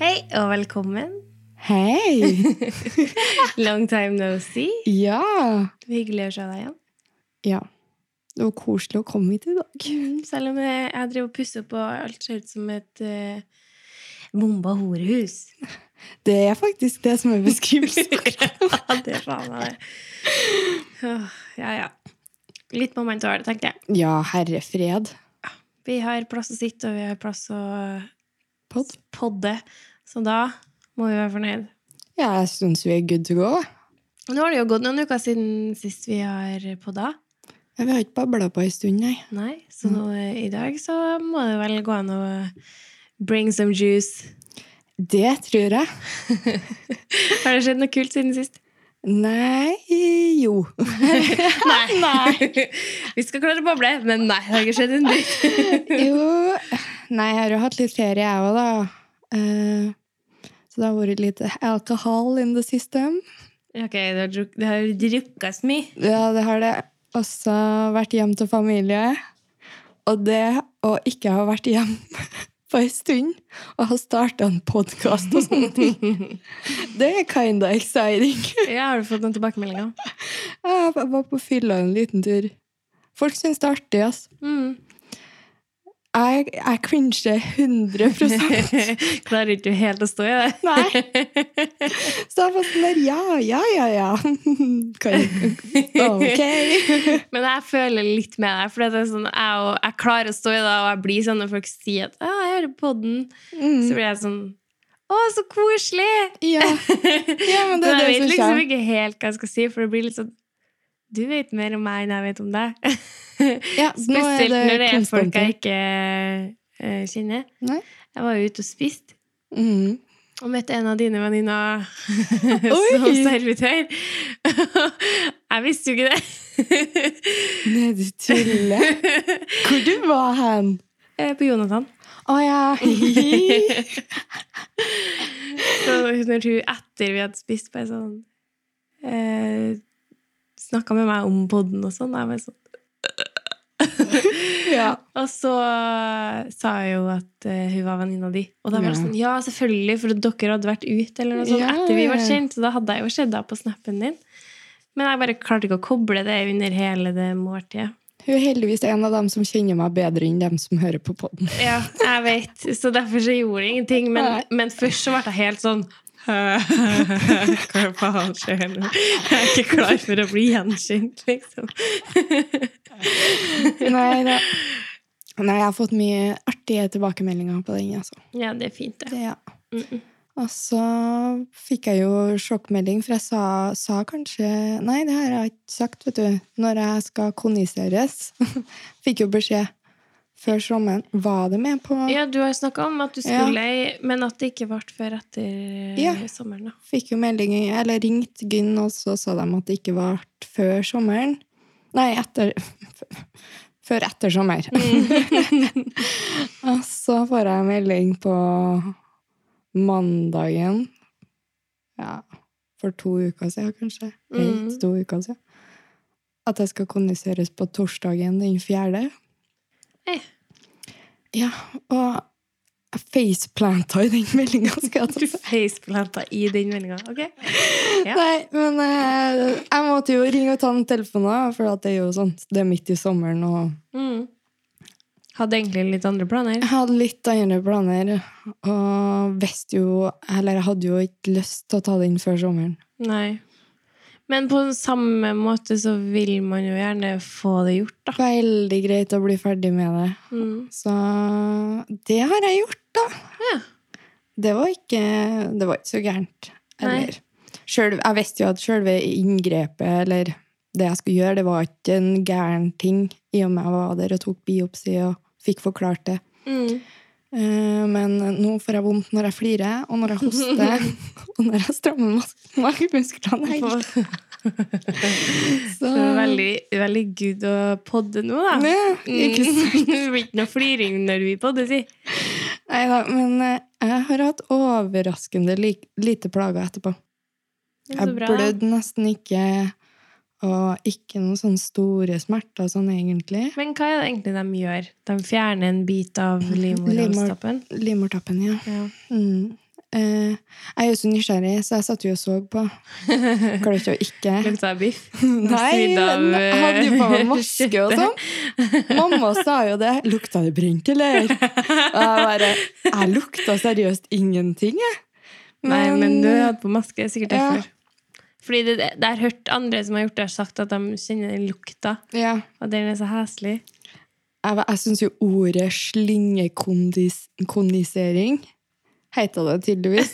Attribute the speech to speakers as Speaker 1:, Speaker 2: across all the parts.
Speaker 1: Hei og velkommen.
Speaker 2: Hei!
Speaker 1: Long time no see.
Speaker 2: Ja.
Speaker 1: Hyggelig å se deg igjen.
Speaker 2: ja. Det var koselig å komme hit i dag.
Speaker 1: Selv om jeg, jeg driver og pusser opp og alt ser ut som et eh, bomba horehus.
Speaker 2: Det er faktisk det som er beskrivelsen.
Speaker 1: Ja, det er faen meg det. Åh, Ja, ja. Litt må man tåle, tenkte jeg.
Speaker 2: ja, herre fred.
Speaker 1: Vi har plass å sitte, og vi har plass å
Speaker 2: Pod.
Speaker 1: podde. Så da må vi være fornøyd.
Speaker 2: Ja, jeg syns vi er good to go.
Speaker 1: Nå har det jo gått noen uker siden sist vi har podda.
Speaker 2: Ja, vi har ikke babla på ei stund, nei.
Speaker 1: Nei, så nå, eh, i dag så må det vel gå an å bring some juice.
Speaker 2: Det tror jeg.
Speaker 1: Har det skjedd noe kult siden sist?
Speaker 2: Nei jo.
Speaker 1: Nei. Vi skal klare å boble, men nei, det har ikke skjedd en dritt.
Speaker 2: jo. Nei, jeg har jo hatt litt ferie, jeg òg, da. Eh, så det har vært litt alcohol in the system.
Speaker 1: ok, det har, druk, det har drukket så mye.
Speaker 2: Ja, det har det også vært hjem til familie. Og det å ikke ha vært hjem på en stund og ha starta en podkast og sånne ting, det er kinda exciting.
Speaker 1: Ja, har du fått noen tilbakemeldinger?
Speaker 2: Jeg var på fylla en liten tur. Folk syns det er artig, ass.
Speaker 1: Mm.
Speaker 2: Jeg, jeg cringer 100
Speaker 1: Klarer ikke du helt å stå i det?
Speaker 2: Nei. Så jeg var sånn der Ja, ja, ja, ja. Kan, ok.
Speaker 1: Men jeg føler litt med deg, for det er sånn, jeg, og, jeg klarer å stå i det, og jeg blir sånn når folk sier at «Å, jeg hører på den, så
Speaker 2: Mm.
Speaker 1: blir jeg sånn Å, så koselig!
Speaker 2: Ja. ja, men
Speaker 1: Men
Speaker 2: det er
Speaker 1: jeg
Speaker 2: det
Speaker 1: vet
Speaker 2: som
Speaker 1: liksom
Speaker 2: kommer.
Speaker 1: ikke helt hva jeg skal si, for det blir litt sånn Du vet mer om meg enn jeg vet om deg.
Speaker 2: Ja, nå er
Speaker 1: Spesielt når det er folk
Speaker 2: konstante.
Speaker 1: jeg ikke eh, kjenner.
Speaker 2: Nei.
Speaker 1: Jeg var jo ute og spiste
Speaker 2: Mm.
Speaker 1: og møtte en av dine venninner som
Speaker 2: Oi!
Speaker 1: servitør. jeg visste jo ikke det.
Speaker 2: Nei, du tuller. Hvor du var hen?
Speaker 1: Eh, På Jonathan.
Speaker 2: Å ja.
Speaker 1: Så når hun etter vi hadde spist, bare sånn eh, Snakka med meg om podden og sånn. Jeg bare sånn
Speaker 2: ja.
Speaker 1: Og så eh, sa jeg jo at eh, hun var venninna di. Og da var det
Speaker 2: Ja.
Speaker 1: sånn Ja, selvfølgelig, for dere hadde vært ute eller noe sånt
Speaker 2: Ja,
Speaker 1: etter vi
Speaker 2: ja,
Speaker 1: var
Speaker 2: ja.
Speaker 1: kjent. Så da hadde jeg jo sett deg på snappen din. Men jeg bare klarte ikke å koble det under hele det måltidet.
Speaker 2: Hun er heldigvis en av dem som kjenner meg bedre enn dem som hører på podden.
Speaker 1: Ja, jeg vet. Så derfor så gjorde det ingenting. Men,
Speaker 2: Nei.
Speaker 1: men først så ble jeg helt sånn Hva faen skjer nå? Jeg er ikke klar for å bli gjenkjent, liksom.
Speaker 2: Nei, da. Nei, jeg har fått mye artige tilbakemeldinger på den, altså.
Speaker 1: Ja, det er fint, det.
Speaker 2: Det, ja.
Speaker 1: Mm-mm.
Speaker 2: Og så fikk jeg jo sjokkmelding, for jeg sa, sa kanskje Nei, det har jeg ikke sagt, vet du. Når jeg skal konniseres. Fikk jo beskjed før sommeren. Var det med på
Speaker 1: Ja, du har snakka om at du
Speaker 2: Ja.
Speaker 1: skulle, men at det ikke ble før etter eh,
Speaker 2: Ja.
Speaker 1: sommeren. da.
Speaker 2: Fikk jo melding, eller ringt Gyn, og så sa de at det ikke var før sommeren. Nei, etter Før etter sommer. og så får jeg melding på mandagen Ja, for to uker siden, kanskje.
Speaker 1: Mm.
Speaker 2: Ett, to uker siden. At jeg skal kondiseres på torsdagen den fjerde.
Speaker 1: Hei.
Speaker 2: Ja, og jeg faceplanta i den meldinga, skal jeg ta
Speaker 1: Du faceplanta i den meldinga. ok? Ja.
Speaker 2: Nei, men eh, jeg måtte jo ringe og ta den telefonen, da, for at det er jo sånn, det er midt i sommeren, og
Speaker 1: Mm. Hadde egentlig litt andre planer.
Speaker 2: jeg hadde litt andre planer, og visste jo, eller jeg hadde jo ikke lyst til å ta den før sommeren.
Speaker 1: Nei. Men på samme måte så vil man jo gjerne få det gjort, da.
Speaker 2: Veldig greit å bli ferdig med det.
Speaker 1: Mm.
Speaker 2: Så det har jeg gjort, da.
Speaker 1: Ja.
Speaker 2: Det var ikke, det var ikke så gærent.
Speaker 1: Nei.
Speaker 2: Eller, selv, jeg visste jo at selve inngrepet, eller det jeg skulle gjøre, det var ikke en gæren ting, i og med jeg var der og tok biopsi og fikk forklart det.
Speaker 1: Mm.
Speaker 2: Eh, Men nå får jeg vondt når jeg flirer, og når jeg hoster, og når jeg strammer mas- magemusklene. helt.
Speaker 1: Så
Speaker 2: Så
Speaker 1: veldig, veldig good å podde nå, da.
Speaker 2: Ja, ikke
Speaker 1: Mm.
Speaker 2: sant?
Speaker 1: Det blir ikke noe fliring når vi podder, si.
Speaker 2: Neida, men eh, jeg har hatt overraskende lik- lite plager etterpå.
Speaker 1: Det er
Speaker 2: Jeg
Speaker 1: så bra. da.
Speaker 2: blødde nesten ikke, og ikke noen sånne store smerter sånn egentlig.
Speaker 1: Men hva er det egentlig de gjør? De fjerner en bit av
Speaker 2: Livmor-
Speaker 1: livmorhalstappen?
Speaker 2: Livmortappen, ja.
Speaker 1: Ja.
Speaker 2: Mm. eh, Jeg er jo så nysgjerrig, så jeg satt jo og så på. Klarer ikke å ikke.
Speaker 1: Lukta av biff.
Speaker 2: Nei,
Speaker 1: Svidd av,
Speaker 2: men jeg hadde jo på meg
Speaker 1: eh,
Speaker 2: maske og sånn. Mamma sa jo det. Lukta det brent, eller? Og jeg bare Jeg lukta seriøst ingenting, jeg.
Speaker 1: Nei, men du hadde på maske. Sikkert
Speaker 2: Ja.
Speaker 1: derfor. Fordi det, det jeg har hørt andre som har gjort det, har sagt at de kjenner den lukta.
Speaker 2: ja.
Speaker 1: Og den er så heslig.
Speaker 2: Jeg, jeg syns jo ordet slyngekondisering heter det tydeligvis.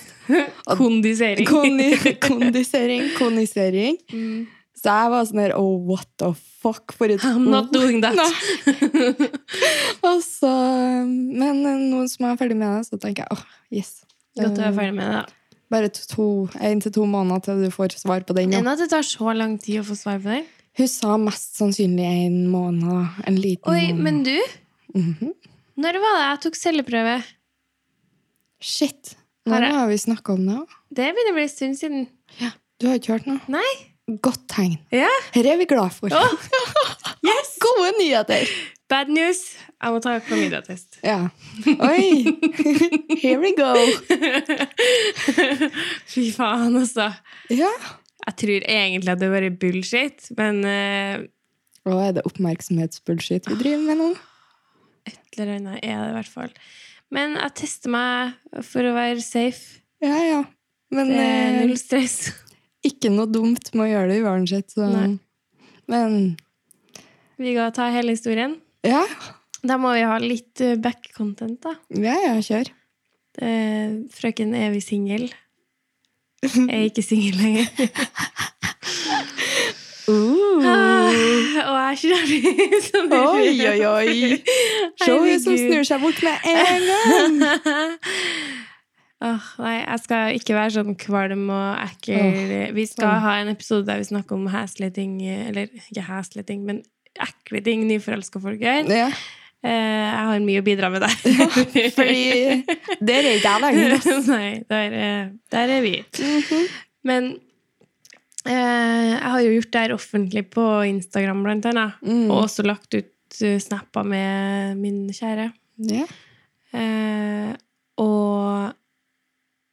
Speaker 2: Og-
Speaker 1: Kondisering.
Speaker 2: Kondi, kondisering, kondisering.
Speaker 1: Mm.
Speaker 2: Så jeg var sånn her Oh, what the fuck? For et
Speaker 1: I'm not
Speaker 2: ord.
Speaker 1: doing that.
Speaker 2: Nei. Og så, um, men eh, noen som er ferdig med det, så tenker jeg åh, yes.
Speaker 1: Godt å være ferdig med det. da.
Speaker 2: Bare to- to, en til to måneder til du får svar på den.
Speaker 1: Enn
Speaker 2: Ja.
Speaker 1: at det tar så lang tid å få svar på den.
Speaker 2: Hun sa mest sannsynlig en måned. da. En liten
Speaker 1: Oi,
Speaker 2: måned.
Speaker 1: men du?
Speaker 2: Mm. Mhm.
Speaker 1: Når var det jeg tok celleprøve?
Speaker 2: Shit.
Speaker 1: Har
Speaker 2: Når
Speaker 1: jeg-
Speaker 2: har vi snakka om det? også?
Speaker 1: Det begynner å bli en stund siden.
Speaker 2: Du har ikke hørt noe?
Speaker 1: Nei.
Speaker 2: Godt tegn.
Speaker 1: Ja.
Speaker 2: Her er vi glad for.
Speaker 1: Åh. Yes!
Speaker 2: Gode nyheter!
Speaker 1: Bad news. Jeg må ta klamydiatest.
Speaker 2: Ja. Oi! Here we go!
Speaker 1: Fy faen, altså.
Speaker 2: Ja.
Speaker 1: Jeg tror egentlig at det bare er bullshit, men eh,
Speaker 2: Å, er det oppmerksomhetsbullshit vi driver med nå?
Speaker 1: et eller annet er det i hvert fall. Men jeg tester meg for å være safe.
Speaker 2: Ja, ja. Men
Speaker 1: Det er
Speaker 2: eh,
Speaker 1: null stress.
Speaker 2: ikke noe dumt med å gjøre det uansett. Så.
Speaker 1: Nei.
Speaker 2: Men
Speaker 1: Vi kan ta hele historien.
Speaker 2: ja,
Speaker 1: Da må vi ha litt eh, back-content, da.
Speaker 2: ja, ja, kjør.
Speaker 1: Eh, frøken evig singel. Jeg er ikke singel lenger. Ah, og jeg er ikke jævlig sånn
Speaker 2: Oi, oi, oi! Se hun som snur seg bort med en gang!
Speaker 1: Åh, nei, jeg skal ikke være sånn kvalm og ekkel. Vi skal
Speaker 2: Åh.
Speaker 1: ha en episode der vi snakker om heslige ting Eller ikke heslige ting, men ekle ting nyforelska folk gjør.
Speaker 2: Ja,
Speaker 1: Eh, jeg har mye å bidra med der.
Speaker 2: fordi der er ikke jeg lenger. ass.
Speaker 1: Nei, der, er- der er vi.
Speaker 2: Mhm.
Speaker 1: Men eh, jeg har jo gjort det her offentlig på Instagram, blant annet.
Speaker 2: Mm.
Speaker 1: Og også lagt ut eh, snapper med min kjære.
Speaker 2: Ja.
Speaker 1: Eh, og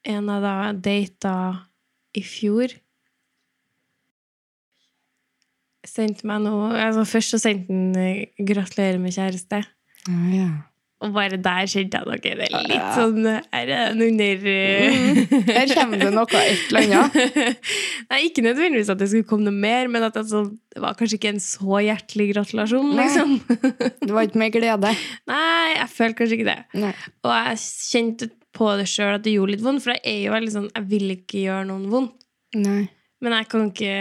Speaker 1: en av da jeg data i fjor sendte meg noe altså Først så sendte han eh, 'gratulerer med kjæreste'.
Speaker 2: Ja, ja.
Speaker 1: Og bare der kjente jeg noe. Det er litt
Speaker 2: Ja. Mm,
Speaker 1: sånn Er det en under eh,
Speaker 2: Her kommer det noe et eller annet.
Speaker 1: Nei, ikke nødvendigvis at det skulle komme noe mer, men at det sånn- det var kanskje ikke en så hjertelig gratulasjon,
Speaker 2: Nei.
Speaker 1: liksom.
Speaker 2: Det var ikke med glede.
Speaker 1: Nei, jeg følte kanskje ikke det.
Speaker 2: Nei.
Speaker 1: Og jeg kjente på det sjøl at det gjorde litt vondt, for jeg er jo veldig sånn Jeg vil ikke gjøre noen vondt,
Speaker 2: Nei.
Speaker 1: men jeg kan ikke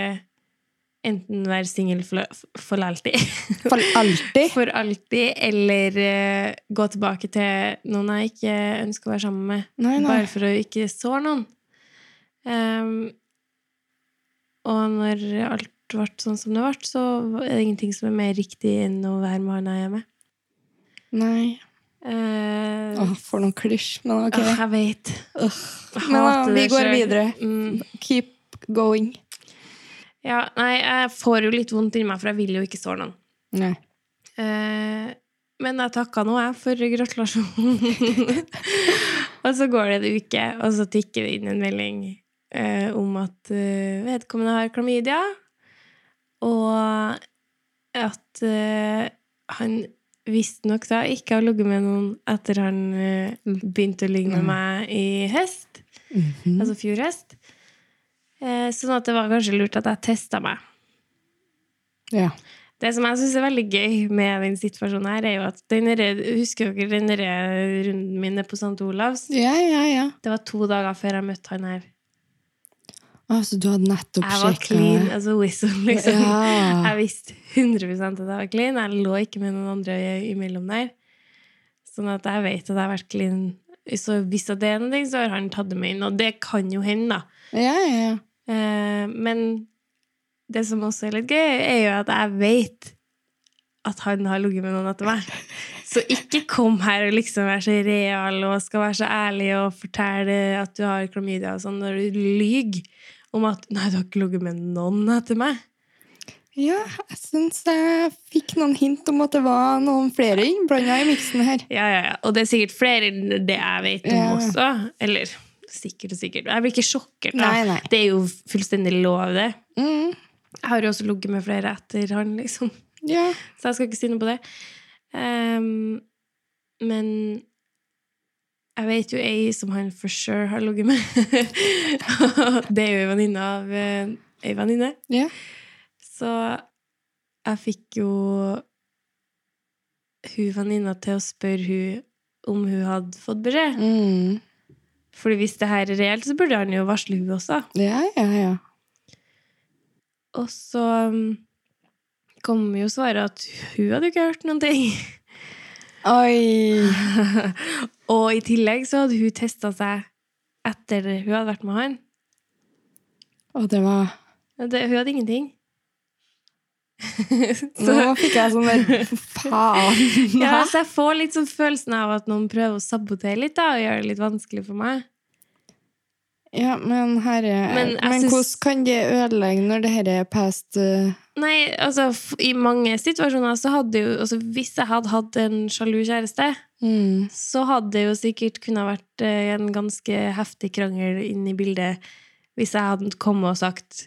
Speaker 1: enten være singel for, for alltid
Speaker 2: For alltid.
Speaker 1: For alltid, eller eh, gå tilbake til noen jeg ikke ønsker å være sammen med,
Speaker 2: Nei, nei.
Speaker 1: bare for å ikke såre noen. Ehm, og når alt ble sånn som det ble, så er det ingenting som er mer riktig enn å være med han jeg er med.
Speaker 2: Nei.
Speaker 1: Eh,
Speaker 2: Åh, for noen klisj, men ok.
Speaker 1: ah, jeg vet. Jeg
Speaker 2: Men da,
Speaker 1: hater
Speaker 2: vi
Speaker 1: det
Speaker 2: går
Speaker 1: selv.
Speaker 2: videre.
Speaker 1: Mm.
Speaker 2: Keep going.
Speaker 1: Ja, nei, jeg får jo litt vondt inni meg, for jeg vil jo ikke såre noen.
Speaker 2: Nei.
Speaker 1: Eh, men jeg takka nå, jeg, for gratulasjonen. og så går det en uke, og så tikker det inn en melding eh, om at eh, vedkommende har klamydia, og at eh, han visstnok da ikke har ligget med noen etter han eh, begynte å ligge med meg i høst. altså fjor høst. Eh, sånn at det var kanskje lurt at jeg testa meg.
Speaker 2: Ja.
Speaker 1: Det som jeg syns er veldig gøy med den situasjonen her, er jo at den der- Husker dere den der runden min på St. Olavs?
Speaker 2: Ja, ja, ja.
Speaker 1: Det var to dager før jeg møtte han her.
Speaker 2: Altså, du hadde nettopp
Speaker 1: Jeg var
Speaker 2: sjekket
Speaker 1: clean as a whistle, liksom.
Speaker 2: Ja.
Speaker 1: Jeg visste 100 at jeg var clean. Jeg lå ikke med noen andre i- imellom der. Sånn at jeg vet at jeg har vært clean. Så hvis at det er noe, så har han tatt det med inn. Og det kan jo hende, da.
Speaker 2: Ja, ja, ja.
Speaker 1: Eh, men det som også er litt gøy, er jo at jeg vet at han har ligget med noen etter meg. Så ikke kom her og liksom være så real og skal være så ærlig og fortelle at du har klamydia og sånn, når du lyver om at 'nei, du har ikke ligget med noen etter meg'.
Speaker 2: Ja, jeg syns jeg fikk noen hint om at det var noen flere innblanda i miksen her.
Speaker 1: Ja, ja, ja. Og det er sikkert flere enn det jeg vet om
Speaker 2: Ja.
Speaker 1: også. Eller sikkert og sikkert. Jeg blir ikke sjokkert. da.
Speaker 2: Nei, nei.
Speaker 1: Det er jo fullstendig lov, det.
Speaker 2: Mm,
Speaker 1: Jeg har jo også ligget med flere etter han, liksom.
Speaker 2: ja.
Speaker 1: Så jeg skal ikke si noe på det. Ehm, men jeg vet jo ei som han for sure har ligget med. det er jo ei venninne av eh, ei venninne.
Speaker 2: Ja.
Speaker 1: Så jeg fikk jo hun venninna til å spørre hun om hun hadde fått beskjed.
Speaker 2: Mm.
Speaker 1: Fordi hvis det her er reelt, så burde han jo varsle hun også.
Speaker 2: ja, ja, ja.
Speaker 1: Og så mm, kom jo svaret at hun hadde jo ikke hørt noen ting.
Speaker 2: Oi!
Speaker 1: Og i tillegg så hadde hun testa seg etter hun hadde vært med han.
Speaker 2: Og det var
Speaker 1: Og Det, hun hadde ingenting. så,
Speaker 2: Nå fikk jeg sånn der Faen!
Speaker 1: ja, så jeg får litt sånn følelsen av at noen prøver å sabotere litt da, og gjøre det litt vanskelig for meg.
Speaker 2: Ja, men herre Men,
Speaker 1: Men jeg syns-
Speaker 2: hvordan kan det ødelegge når det her er past eh,
Speaker 1: Nei, altså f I mange situasjoner så hadde jo altså, Hvis jeg hadde hatt en sjalu kjæreste,
Speaker 2: mm.
Speaker 1: så hadde det jo sikkert kunne ha vært eh, en ganske heftig krangel inn i bildet hvis jeg hadde kommet og sagt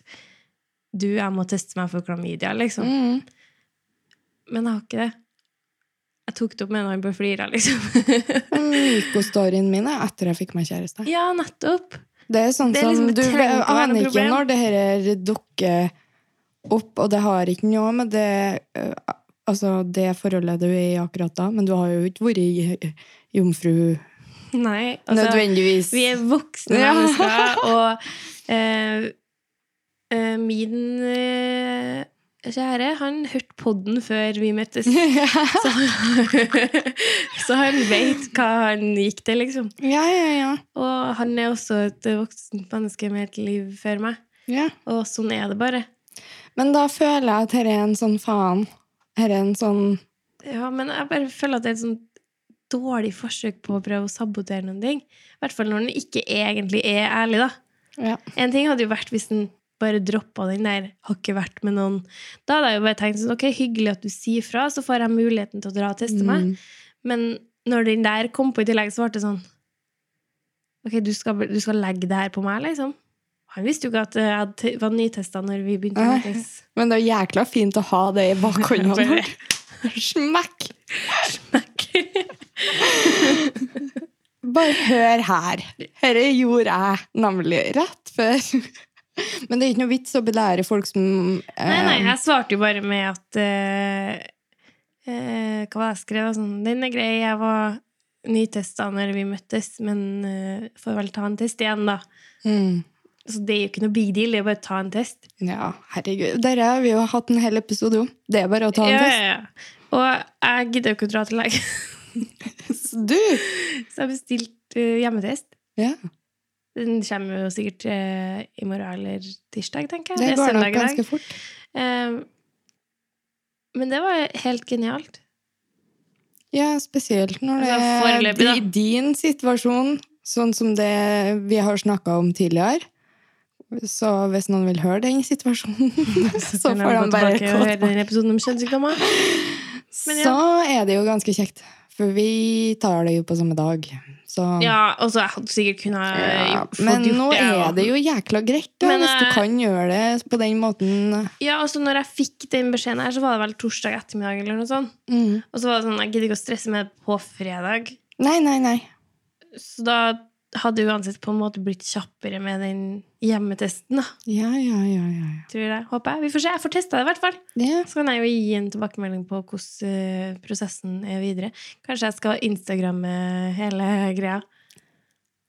Speaker 1: Du, jeg må teste meg for klamydia, liksom.
Speaker 2: Mm.
Speaker 1: Men jeg har ikke det. Jeg tok det opp med en annen på flira, liksom.
Speaker 2: Men Myko-storyen min er etter jeg fikk meg kjæreste.
Speaker 1: ja, nettopp.
Speaker 2: Det er sånn
Speaker 1: Det er liksom-
Speaker 2: som
Speaker 1: det
Speaker 2: Du
Speaker 1: trenger
Speaker 2: ve-
Speaker 1: ikke være noe
Speaker 2: aner ikke
Speaker 1: problem.
Speaker 2: når det her dukker opp, og det har ikke noe med det eh, Altså det forholdet du er i akkurat da, men du har jo ikke vært i- jomfru
Speaker 1: Nei. Altså,
Speaker 2: nødvendigvis.
Speaker 1: vi er voksne
Speaker 2: Ja.
Speaker 1: mennesker, og eh, eh, min eh, kjære, han hørte podden før vi møttes. Så, så han vet hva han gikk til, liksom.
Speaker 2: ja, ja, ja.
Speaker 1: Og han er også et voksent menneske med et liv før meg.
Speaker 2: ja.
Speaker 1: Og sånn er det bare.
Speaker 2: Men da føler jeg at dette er en sånn faen. Dette er en sånn
Speaker 1: Ja, men jeg bare føler at det er et sånn dårlig forsøk på å prøve å sabotere noen ting. I hvert fall når den ikke egentlig er ærlig, da.
Speaker 2: ja.
Speaker 1: En ting hadde jo vært hvis den bare droppa den der 'har ikke vært med noen'. Da hadde jeg jo bare tenkt sånn 'ok, hyggelig at du sier fra, så får jeg muligheten til å dra og teste meg'.
Speaker 2: Mm.
Speaker 1: Men når den der kom på i tillegg, så ble det sånn 'ok, du skal, du skal legge det her på meg', liksom. Han visste jo ikke at eh, jeg hadde te- var nytesta når vi begynte å
Speaker 2: Nei.
Speaker 1: møtes.
Speaker 2: Men det er jækla fint å ha det i bakhånda.
Speaker 1: Bare-
Speaker 2: Smekk!
Speaker 1: Nei.
Speaker 2: Bare hør her. Dette gjorde jeg nemlig rett før. Men det er ikke noe vits å belære folk som
Speaker 1: Nei, nei,
Speaker 2: eh,
Speaker 1: jeg svarte jo bare med at eh, eh, Hva var det jeg skrev? da? Sånn, Den er grei, jeg var nytesta når vi møttes, men eh, får vel ta en test igjen, da.
Speaker 2: mm,
Speaker 1: Så det er jo ikke noe big deal, det er bare å ta en test.
Speaker 2: Ja, herregud. Dette har vi jo hatt en hel episode om. Det er bare å ta en
Speaker 1: Ja, ja, ja. Og jeg gidder jo ikke å dra til legen,
Speaker 2: test. Du!
Speaker 1: så jeg bestilte eh, hjemmetest.
Speaker 2: Ja,
Speaker 1: Den kommer jo sikkert eh, i morgen eller tirsdag, tenker jeg.
Speaker 2: det går nok
Speaker 1: søndag i dag.
Speaker 2: ganske fort.
Speaker 1: Eh, men det var helt genialt.
Speaker 2: Ja, spesielt når det
Speaker 1: Altså, foreløpig,
Speaker 2: er
Speaker 1: da.
Speaker 2: i din situasjon, sånn som det vi har snakka om tidligere. Så hvis noen vil høre den situasjonen, så
Speaker 1: kan jeg gå
Speaker 2: får de bare
Speaker 1: tilbake og
Speaker 2: gå
Speaker 1: høre den episoden om kjønnssykdommer. Men ja.
Speaker 2: Så er det jo ganske kjekt, for vi tar det jo på samme dag. Så,
Speaker 1: Ja, altså jeg hadde sikkert kunnet ha
Speaker 2: Sånn. Ja,
Speaker 1: fått
Speaker 2: Men
Speaker 1: gjort
Speaker 2: nå
Speaker 1: det.
Speaker 2: er det jo jækla greit, da,
Speaker 1: Men,
Speaker 2: hvis du
Speaker 1: eh,
Speaker 2: kan gjøre det på den måten.
Speaker 1: Ja, altså når jeg fikk den beskjeden her, så var det vel torsdag ettermiddag eller noe sånt.
Speaker 2: Mm.
Speaker 1: Og så var det sånn, jeg gidder ikke å stresse med det på fredag.
Speaker 2: Nei, nei, nei.
Speaker 1: Så da hadde jeg uansett på en måte blitt kjappere med den hjemmetesten, da.
Speaker 2: Ja, ja, ja. ja. ja.
Speaker 1: Tror jeg. Håper jeg. Vi får se. Jeg får testa det, i hvert fall.
Speaker 2: Det,
Speaker 1: Så kan jeg jo gi en tilbakemelding på hvordan eh, prosessen er videre. Kanskje jeg skal Instagramme hele greia.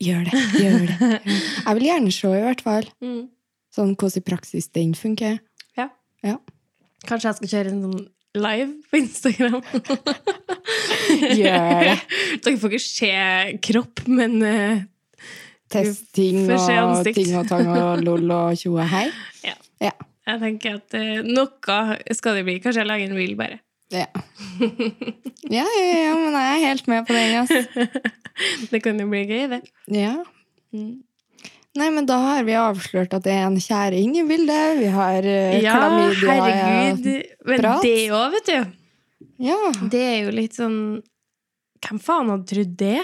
Speaker 2: gjør det. Gjør det. gjør det. Jeg vil gjerne se, i hvert fall,
Speaker 1: Mm.
Speaker 2: sånn hvordan i praksis den funker.
Speaker 1: Kanskje jeg skal kjøre en sånn live på Instagram.
Speaker 2: Gjør det.
Speaker 1: Dere får ikke se kropp, men eh,
Speaker 2: Testing
Speaker 1: Får se
Speaker 2: og
Speaker 1: ansikt.
Speaker 2: ting og tang og lol og tjo og hei.
Speaker 1: jeg tenker at eh, noe skal det bli. Kanskje jeg lager en reel, bare.
Speaker 2: Ja. Ja, ja, ja, men jeg er helt med på den, ass.
Speaker 1: Det kan jo bli gøy, det.
Speaker 2: Ja.
Speaker 1: Mm.
Speaker 2: Nei, men da har vi avslørt at det er en kjæring i bildet. Vi har uh,
Speaker 1: Ja,
Speaker 2: klamydia.
Speaker 1: herregud. Men
Speaker 2: prat.
Speaker 1: det òg, vet du.
Speaker 2: Ja.
Speaker 1: Det er jo litt sånn Hvem faen hadde trodd det?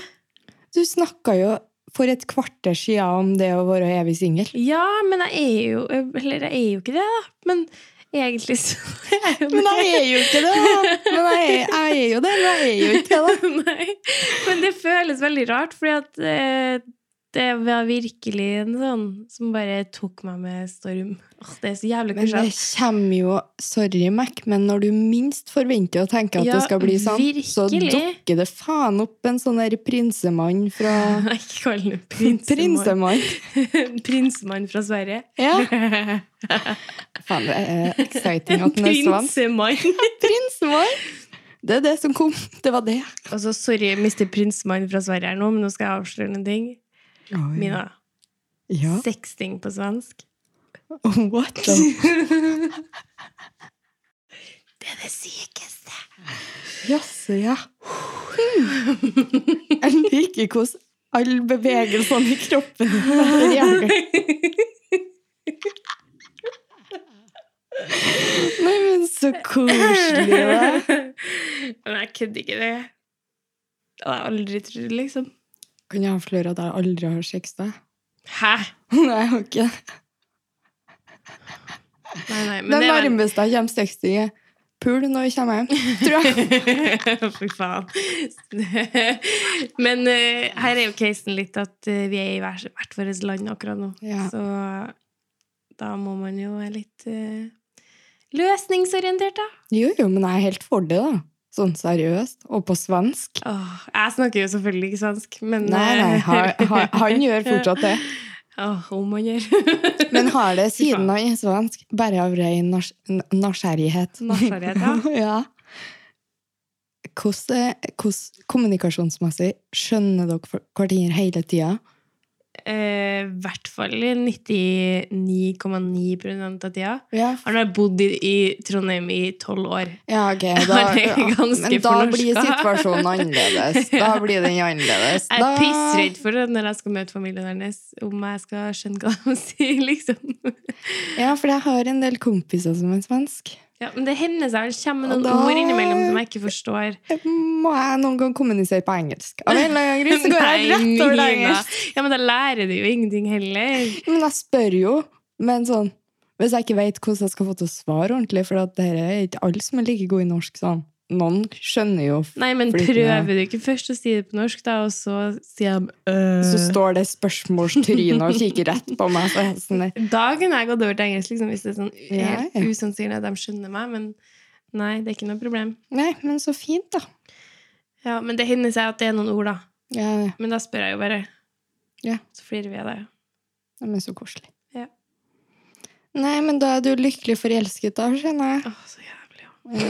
Speaker 2: Du snakka jo for et kvarter siden om det å være evig singel.
Speaker 1: Ja, men jeg er jo Eller jeg er jo ikke det, da. Men egentlig så er jeg jo det.
Speaker 2: Men jeg er jo ikke det! da. Men jeg er, jeg er jo det, men jeg er jo ikke det. da.
Speaker 1: Nei. Men det føles veldig rart, fordi at eh, det var virkelig en sånn som bare tok meg med storm. Åh, det er så jævlig
Speaker 2: Men det
Speaker 1: klisjé.
Speaker 2: kommer jo Sorry, Mac, men når du minst forventer å tenke at
Speaker 1: Ja,
Speaker 2: det skal bli sånn, så
Speaker 1: virkelig.
Speaker 2: dukker det faen opp en sånn der prinsemann fra
Speaker 1: Ikke kall ham prinsemann.
Speaker 2: Prinsemann!
Speaker 1: prinsemann fra Sverige.
Speaker 2: Ja. Faen, det er exciting at den er sånn.
Speaker 1: prinsemann.
Speaker 2: Prinsemann! Det er det som kom. Det var det.
Speaker 1: Og så Altså, sorry, mister prinsemann fra Sverige her nå, men nå skal jeg avsløre noen ting. Mina,
Speaker 2: Ja.
Speaker 1: sexting på svensk.
Speaker 2: What the
Speaker 1: Det er det sykeste.
Speaker 2: Jaså, ja. Jeg liker hvordan alle bevegelsene i kroppen reagerer. Nei, men så koselig. da.
Speaker 1: Men jeg kødder ikke det. Det hadde jeg aldri trodd, liksom.
Speaker 2: Kan jeg avsløre at jeg aldri har sex da?
Speaker 1: Hæ?
Speaker 2: Nei, jeg har ikke det.
Speaker 1: Nei, nei, men
Speaker 2: Det
Speaker 1: det er
Speaker 2: nærmeste jeg kommer sextinget. Pul når jeg kommer hjem, tror jeg.
Speaker 1: vel Fy faen. Men eh, her er jo casen litt at eh, vi er i hver- hvert vårt land akkurat nå.
Speaker 2: Ja.
Speaker 1: Så da må man jo være litt eh, løsningsorientert, da.
Speaker 2: Jo, jo, men jeg er helt for det, da. Sånn seriøst. Og på svensk.
Speaker 1: Åh, jeg snakker jo selvfølgelig ikke svensk, men eh,
Speaker 2: Nei, nei, ha, ha, han gjør fortsatt det.
Speaker 1: Åh, om han gjør.
Speaker 2: Men har det siden han er svensk, bare av ren nars- n- nysgjerrighet.
Speaker 1: Nysgjerrighet, ja.
Speaker 2: ja. Hvordan, hvordan kommunikasjonsmessig skjønner dere for- hverandre hele tida?
Speaker 1: Eh, hvert fall 99,9 av tida.
Speaker 2: Ja.
Speaker 1: Han har bodd i, i Trondheim i tolv år.
Speaker 2: ja, ok. Da,
Speaker 1: Han er ganske
Speaker 2: men da blir
Speaker 1: fornorska.
Speaker 2: situasjonen annerledes. Da blir den annerledes.
Speaker 1: Jeg er
Speaker 2: Da-
Speaker 1: pissredd for det når jeg skal møte familien hennes, om jeg skal skjønne hva de sier, liksom.
Speaker 2: Ja, for jeg har en del kompiser som er svensk.
Speaker 1: Ja, men det hender seg han kommer med
Speaker 2: Og
Speaker 1: noen
Speaker 2: da-
Speaker 1: ord innimellom som jeg ikke forstår.
Speaker 2: Må jeg noen gang kommunisere på engelsk? Av en eller annen grunn så går jeg
Speaker 1: Nei,
Speaker 2: rett over til
Speaker 1: Mina.
Speaker 2: engelsk.
Speaker 1: Ja, men da lærer du jo ingenting heller.
Speaker 2: Men jeg spør jo, men sånn Hvis jeg ikke vet hvordan jeg skal få til å svare ordentlig, for at dette er ikke alle som er like gode i norsk sånn. Noen skjønner jo f-
Speaker 1: Nei, men
Speaker 2: Flytende.
Speaker 1: prøver du ikke først å si det på norsk, da, og så sier de
Speaker 2: Så
Speaker 1: øh.
Speaker 2: står det spørsmålstryne og kikker rett på meg. Så er jeg sånn der,
Speaker 1: Da kunne jeg gått over til engelsk, liksom, hvis det er sånn
Speaker 2: Ja,
Speaker 1: helt
Speaker 2: ja.
Speaker 1: usannsynlig at de skjønner meg, men nei, det er ikke noe problem.
Speaker 2: Nei, men så fint, da.
Speaker 1: Ja, men det hender seg at det er noen ord, da.
Speaker 2: Ja, ja,
Speaker 1: Men da spør jeg jo bare.
Speaker 2: Ja.
Speaker 1: Så flirer vi av det.
Speaker 2: men så koselig.
Speaker 1: Ja.
Speaker 2: Nei, men da er du lykkelig forelsket, da, skjønner jeg.
Speaker 1: Åh, så jævlig. ja.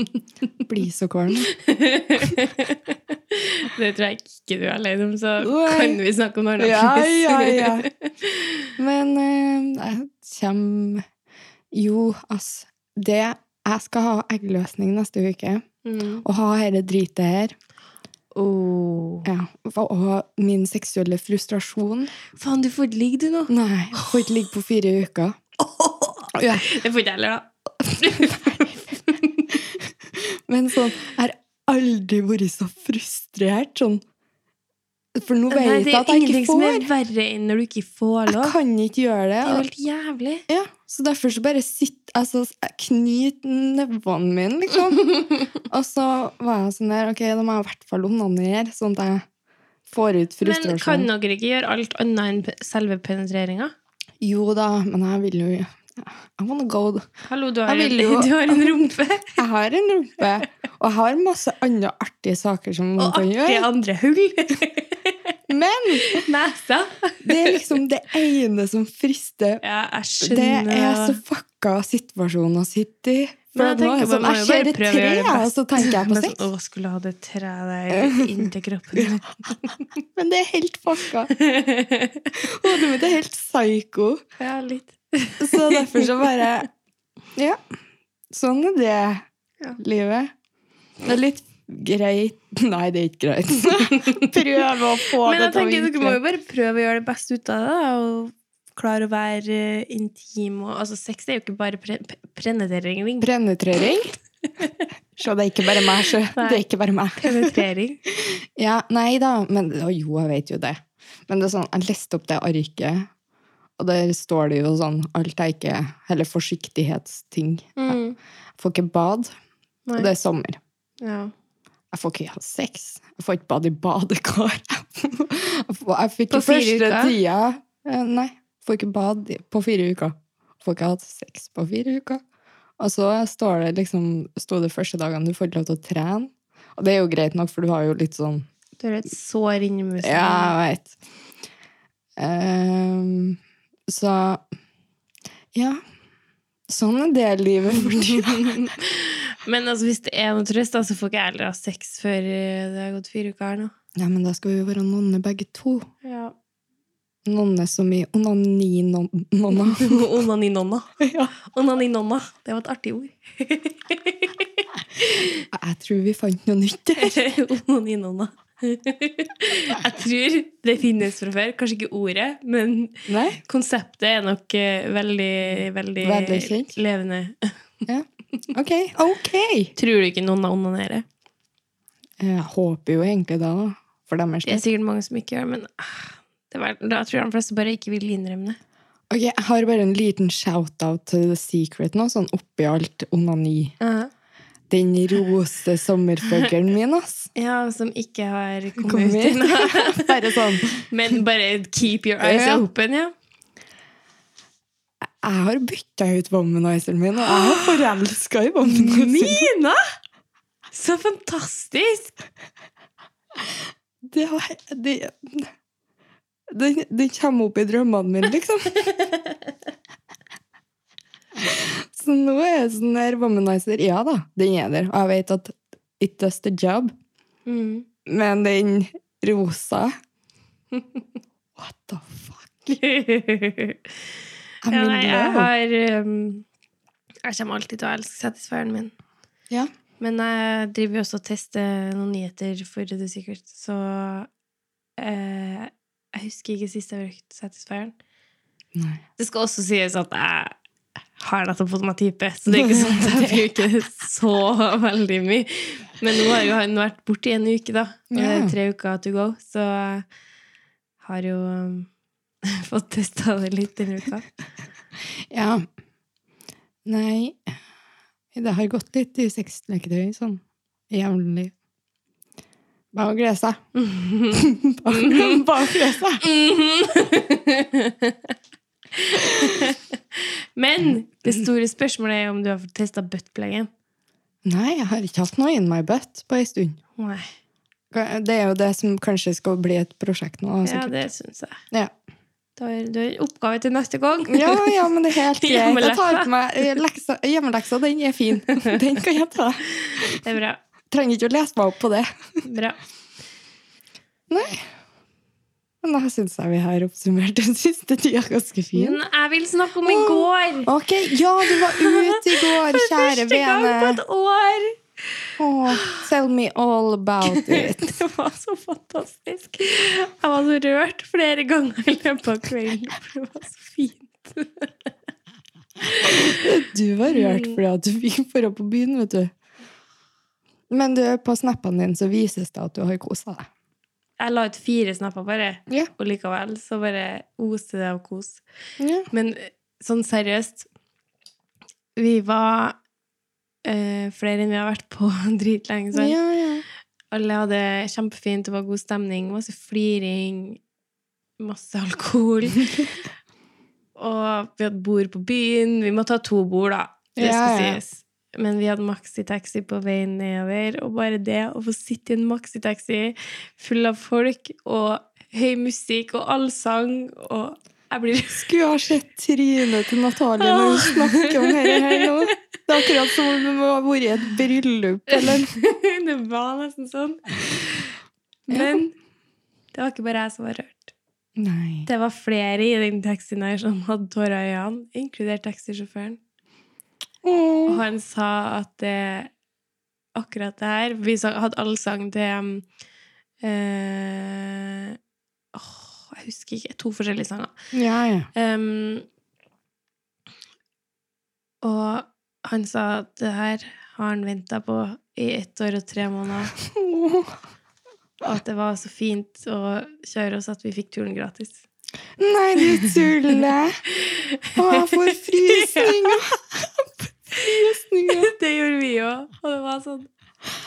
Speaker 2: Bli så kvalm.
Speaker 1: det tror jeg ikke du er alene om, så
Speaker 2: Nei.
Speaker 1: kan vi snakke om noe annet.
Speaker 2: Ja, ja, ja. Men eh, jeg kommer Jo, ass. Det Jeg skal ha eggløsning neste uke.
Speaker 1: Mm.
Speaker 2: Å ha dette dritet her ja. Og og min seksuelle frustrasjon
Speaker 1: Faen, du får ikke ligge, du nå.
Speaker 2: Nei, jeg får ikke ligge på fire uker. Ja.
Speaker 1: Det får ikke jeg heller, da.
Speaker 2: Men sånn, jeg har aldri vært så frustrert. Sånn. For nå vet
Speaker 1: Nei, det
Speaker 2: jeg
Speaker 1: er
Speaker 2: at
Speaker 1: jo
Speaker 2: jeg
Speaker 1: ingenting
Speaker 2: ikke
Speaker 1: som er
Speaker 2: får.
Speaker 1: verre enn når du ikke får
Speaker 2: Jeg
Speaker 1: lov.
Speaker 2: kan ikke gjøre det.
Speaker 1: Det er jo
Speaker 2: og-
Speaker 1: helt jævlig.
Speaker 2: Ja, så derfor så bare sitt, altså, jeg knyt nevene mine, liksom. og så var jeg sånn der, ok, da må jeg i hvert fall onanere, sånn at jeg får ut
Speaker 1: Men kan
Speaker 2: frustrasjon.
Speaker 1: dere ikke gjøre alt annet enn pe- selve penetreringa?
Speaker 2: Jo da, men jeg vil jo... I wanna go.
Speaker 1: Hallo, du har, en,
Speaker 2: Jeg vil jo-
Speaker 1: du har en rumpe
Speaker 2: Jeg har en rumpe, og jeg har masse andre artige saker som man
Speaker 1: og
Speaker 2: kan
Speaker 1: artige
Speaker 2: gjøre.
Speaker 1: andre hull.
Speaker 2: Men
Speaker 1: Nesa.
Speaker 2: det er liksom det ene som frister.
Speaker 1: Ja, jeg
Speaker 2: Det
Speaker 1: skjønner.
Speaker 2: er så fucka situasjonen å sitte i. For
Speaker 1: Men
Speaker 2: nå er
Speaker 1: tenker
Speaker 2: det sånn,
Speaker 1: bare,
Speaker 2: jeg
Speaker 1: må jo
Speaker 2: ser
Speaker 1: bare
Speaker 2: et
Speaker 1: prøve å
Speaker 2: tre,
Speaker 1: gjøre det
Speaker 2: og så
Speaker 1: beste.
Speaker 2: tenker jeg på
Speaker 1: Men sånn,
Speaker 2: sex.
Speaker 1: Å, skulle ha det treet der inntil kroppen min.
Speaker 2: Men det er helt fucka. Hodet mitt er helt psyko.
Speaker 1: ja, litt.
Speaker 2: Så derfor så bare Ja. Sånn er det
Speaker 1: Ja.
Speaker 2: livet. Det er litt greit Nei, det er ikke greit. Prøv å få
Speaker 1: Men jeg
Speaker 2: det
Speaker 1: tenker
Speaker 2: å
Speaker 1: dere må jo bare prøve å gjøre det beste ut av det, da, og klare å være eh, intim og Altså, sex er jo ikke bare pre pre penetrering.
Speaker 2: Brennetrøring. Så det er ikke bare meg, så. Det er ikke bare meg.
Speaker 1: Penetrering.
Speaker 2: Ja, nei da, men å, jo, jeg vet jo det. Men det er sånn, jeg leste opp det arket, og der står det jo sånn alt jeg ikke Eller forsiktighetsting.
Speaker 1: Mm.
Speaker 2: Jeg får ikke bad, og det
Speaker 1: Nei.
Speaker 2: er sommer.
Speaker 1: Ja.
Speaker 2: Jeg får ikke ha sex. Jeg får ikke bade i badekar. Jeg får- jeg fikk
Speaker 1: På
Speaker 2: på
Speaker 1: fire
Speaker 2: første
Speaker 1: uker?
Speaker 2: tida eh, Nei. Får ikke bad i- på fire uker. Får ikke hatt sex på fire uker. Og så står det liksom Sto det første dagene du får ikke lov til å trene. Og det er jo greit nok, for du har jo litt sånn
Speaker 1: Du har et sår inni musen.
Speaker 2: Ja, jeg veit. Ehm, så Ja. Sånn er det livet for tida.
Speaker 1: Men altså, hvis det er noe trøst, da, så får ikke jeg heller ha sex før eh, det har gått fire uker her nå.
Speaker 2: Nei, men da skal vi jo være nonner begge to.
Speaker 1: Ja.
Speaker 2: Nonne som i onani-nonna.
Speaker 1: Onaninonna.
Speaker 2: ja.
Speaker 1: Onaninonna. Det var et artig ord.
Speaker 2: Jeg tror vi fant noe nytt her.
Speaker 1: Onaninonna. Jeg tror det finnes fra før. Kanskje ikke ordet, men
Speaker 2: Nei?
Speaker 1: konseptet er nok eh, veldig, veldig,
Speaker 2: Veldig kjent.
Speaker 1: levende.
Speaker 2: Ok. Ok!
Speaker 1: Tror du ikke noen onanerer?
Speaker 2: Jeg håper jo egentlig da, da. For deres
Speaker 1: Det er
Speaker 2: del.
Speaker 1: sikkert mange som ikke gjør men ah, det, er vel- da tror jeg de fleste bare ikke vil innrømme det.
Speaker 2: Ok, jeg har bare en liten shout-out til The Secret nå, sånn oppi alt onani. Den roste sommerfuglen min, ass.
Speaker 1: Ja, som ikke har kommet
Speaker 2: Kom
Speaker 1: ut
Speaker 2: hit.
Speaker 1: ennå.
Speaker 2: Bare sånn.
Speaker 1: Men bare keep your eyes
Speaker 2: Ja.
Speaker 1: open, ja.
Speaker 2: Jeg har bytta ut vommeniseren min, og jeg er forelska i vommeniseren min.
Speaker 1: Nina! Så fantastisk!
Speaker 2: Det, har- det, den, den kommer opp i drømmene mine, liksom. Så nå er jeg sånn der womanizer. Ja da, den er der. Og jeg vet at it does the job.
Speaker 1: Mm.
Speaker 2: Men den rosa What the fuck? Jeg
Speaker 1: ja,
Speaker 2: mener
Speaker 1: nei,
Speaker 2: det,
Speaker 1: jeg
Speaker 2: jo.
Speaker 1: har um, Jeg kommer alltid til å elske satisfieren min.
Speaker 2: Ja.
Speaker 1: Men jeg driver jo også og tester noen nyheter for The Secret, så eh, Jeg husker ikke sist jeg brukte satisfieren.
Speaker 2: Nei.
Speaker 1: Det skal også sies at jeg har nettopp fått meg type, så det er ikke sånn at jeg bruker det så veldig mye. Men nå har jo han vært borte i en uke, da. Og det
Speaker 2: Ja.
Speaker 1: er tre uker to go, så jeg har jo um, fått testa det litt denne uka.
Speaker 2: Ja. Nei Det har gått litt i sexleketøy sånn jevnlig. Bare å glede seg. Bare bare å glede seg.
Speaker 1: Mhm. Men det store spørsmålet er om du har fått testa buttpluggen.
Speaker 2: Nei, jeg har ikke hatt noe in my butt på ei stund.
Speaker 1: Nei.
Speaker 2: Det er jo det som kanskje skal bli et prosjekt nå.
Speaker 1: Ja,
Speaker 2: sikkert.
Speaker 1: det syns jeg.
Speaker 2: Ja.
Speaker 1: Du har, du har oppgave til neste gang.
Speaker 2: ja, ja, men det er helt greit. Jeg tar
Speaker 1: Hjemmeleksa.
Speaker 2: på meg eh, leksa- Hjemmeleksa, den er fin. Den kan jeg ta.
Speaker 1: Det er bra.
Speaker 2: Trenger ikke å lese meg opp på det.
Speaker 1: bra.
Speaker 2: Men jeg syns jeg vi har oppsummert den siste tida ganske fint.
Speaker 1: Men jeg vil snakke om i
Speaker 2: Åh,
Speaker 1: går.
Speaker 2: Ok, ja, du var ute i går,
Speaker 1: For
Speaker 2: kjære
Speaker 1: første gang på
Speaker 2: vene.
Speaker 1: et år!
Speaker 2: Åh, tell me all about it.
Speaker 1: Det var så fantastisk. Jeg var så rørt flere ganger i løpet av kvelden, for det var så fint.
Speaker 2: Du var rørt fordi at du fikk dra på byen, vet du. Men du, på snappene dine så vises det at du har kosa deg.
Speaker 1: Jeg la ut fire snapper bare,
Speaker 2: Ja.
Speaker 1: og likevel så bare oste det av kos.
Speaker 2: Ja.
Speaker 1: Men sånn seriøst Vi var eh, flere enn vi har vært på dritlenge, sant?
Speaker 2: Ja, ja.
Speaker 1: Alle hadde kjempefint, det var god stemning, masse fliring, masse alkohol. og vi hadde bord på byen. Vi måtte ha to bord, da. Det
Speaker 2: Ja,
Speaker 1: skal
Speaker 2: ja.
Speaker 1: sies. Men vi hadde maxitaxi på veien nedover, og bare det å få sitte i en maxitaxi full av folk og høy musikk og allsang og Jeg blir
Speaker 2: Skulle ha sett trynet til Natalie når hun snakker om dette her nå. Det er akkurat som om hun har vært i et bryllup eller
Speaker 1: Det var nesten sånn. Men det var ikke bare jeg som var rørt.
Speaker 2: Nei.
Speaker 1: Det var flere i den taxien her som hadde tårer i øynene, inkludert taxisjåføren. Og
Speaker 2: Åh.
Speaker 1: han sa at det, akkurat det her Vi sa- hadde allsang til um, eh, åh, Jeg husker ikke. To forskjellige sanger.
Speaker 2: Ja, ja.
Speaker 1: Um, og han sa at det her har han venta på i ett år og tre måneder.
Speaker 2: Åh.
Speaker 1: Og at det var så fint å kjøre oss at vi fikk turen gratis.
Speaker 2: Nei, du tuller! Å, jeg får frysninger! Frysninger!
Speaker 1: Det gjorde vi òg. Og det var sånn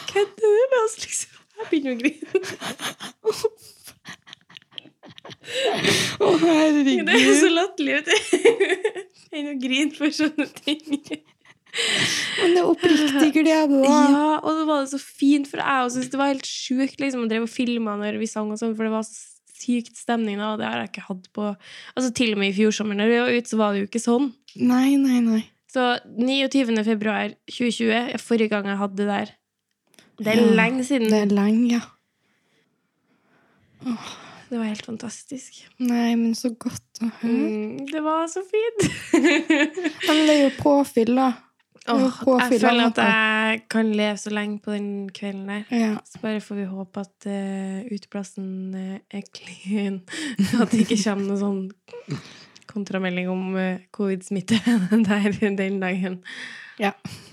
Speaker 1: Kødder du med oss, liksom? Jeg begynner å grine.
Speaker 2: Å, herregud.
Speaker 1: Det er jo så latterlig, vet du. Enn å grine for sånne ting.
Speaker 2: Men det er oppriktig glede, da.
Speaker 1: Ja, og det var det så fint, for jeg også syntes det var helt sjukt. Liksom, å drev og filma når vi sang og sånn, for det var så sykt stemning da, og det har jeg ikke hatt på Altså til og med i fjor sommer, når vi var ute, så var det jo ikke sånn.
Speaker 2: Nei, nei, nei.
Speaker 1: Så 29. februar 2020 er forrige gang jeg hadde det der. Det er
Speaker 2: Ja,
Speaker 1: lenge siden.
Speaker 2: Det er lenge, ja.
Speaker 1: Det var helt fantastisk.
Speaker 2: Nei, men så godt å høre.
Speaker 1: Mm, det var så fint!
Speaker 2: Men det er jo påfyll, da. Det er jo
Speaker 1: Åh, jeg
Speaker 2: påfyll av
Speaker 1: føler at
Speaker 2: noe.
Speaker 1: jeg kan leve så lenge på den kvelden der.
Speaker 2: Ja.
Speaker 1: Så bare får vi håpe at eh, uteplassen eh, er clean. At det ikke kommer noe sånn kontramelding om eh, covid-smitte der den dagen.
Speaker 2: Ja.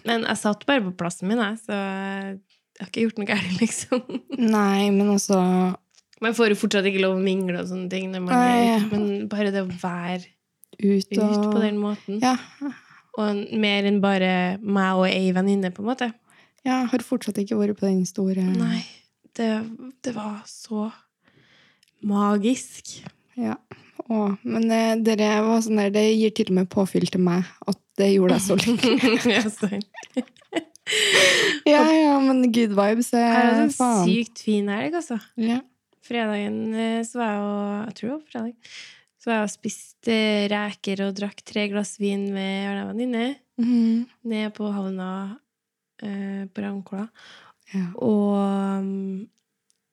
Speaker 1: Men jeg satt bare på plassen min, jeg, så jeg har ikke gjort noe galt, liksom.
Speaker 2: Nei, men altså
Speaker 1: Man får jo fortsatt ikke lov å mingle og sånne ting, når man er,
Speaker 2: Nei.
Speaker 1: men bare det å være
Speaker 2: ut
Speaker 1: ute
Speaker 2: og
Speaker 1: på den måten,
Speaker 2: Ja.
Speaker 1: og mer enn bare meg og ei venninne, på en måte.
Speaker 2: Jeg har fortsatt ikke vært på den store
Speaker 1: Nei, det, det var så magisk.
Speaker 2: Ja. Å, men det, dere var sånn der, det gir til og med påfyll til meg at det gjorde deg så lykkelig.
Speaker 1: ja, sant.
Speaker 2: ja, ja, men good vibes
Speaker 1: Jeg
Speaker 2: er
Speaker 1: hadde en
Speaker 2: faen.
Speaker 1: sykt fin helg, altså.
Speaker 2: Ja.
Speaker 1: Fredagen eh, så var jeg og Jeg tror det var fredag. Så var jeg og spiste eh, reker og drakk tre glass vin med ei venninne
Speaker 2: Mhm.
Speaker 1: ned på havna eh, på Ravnkloa.
Speaker 2: ja.
Speaker 1: Og mm,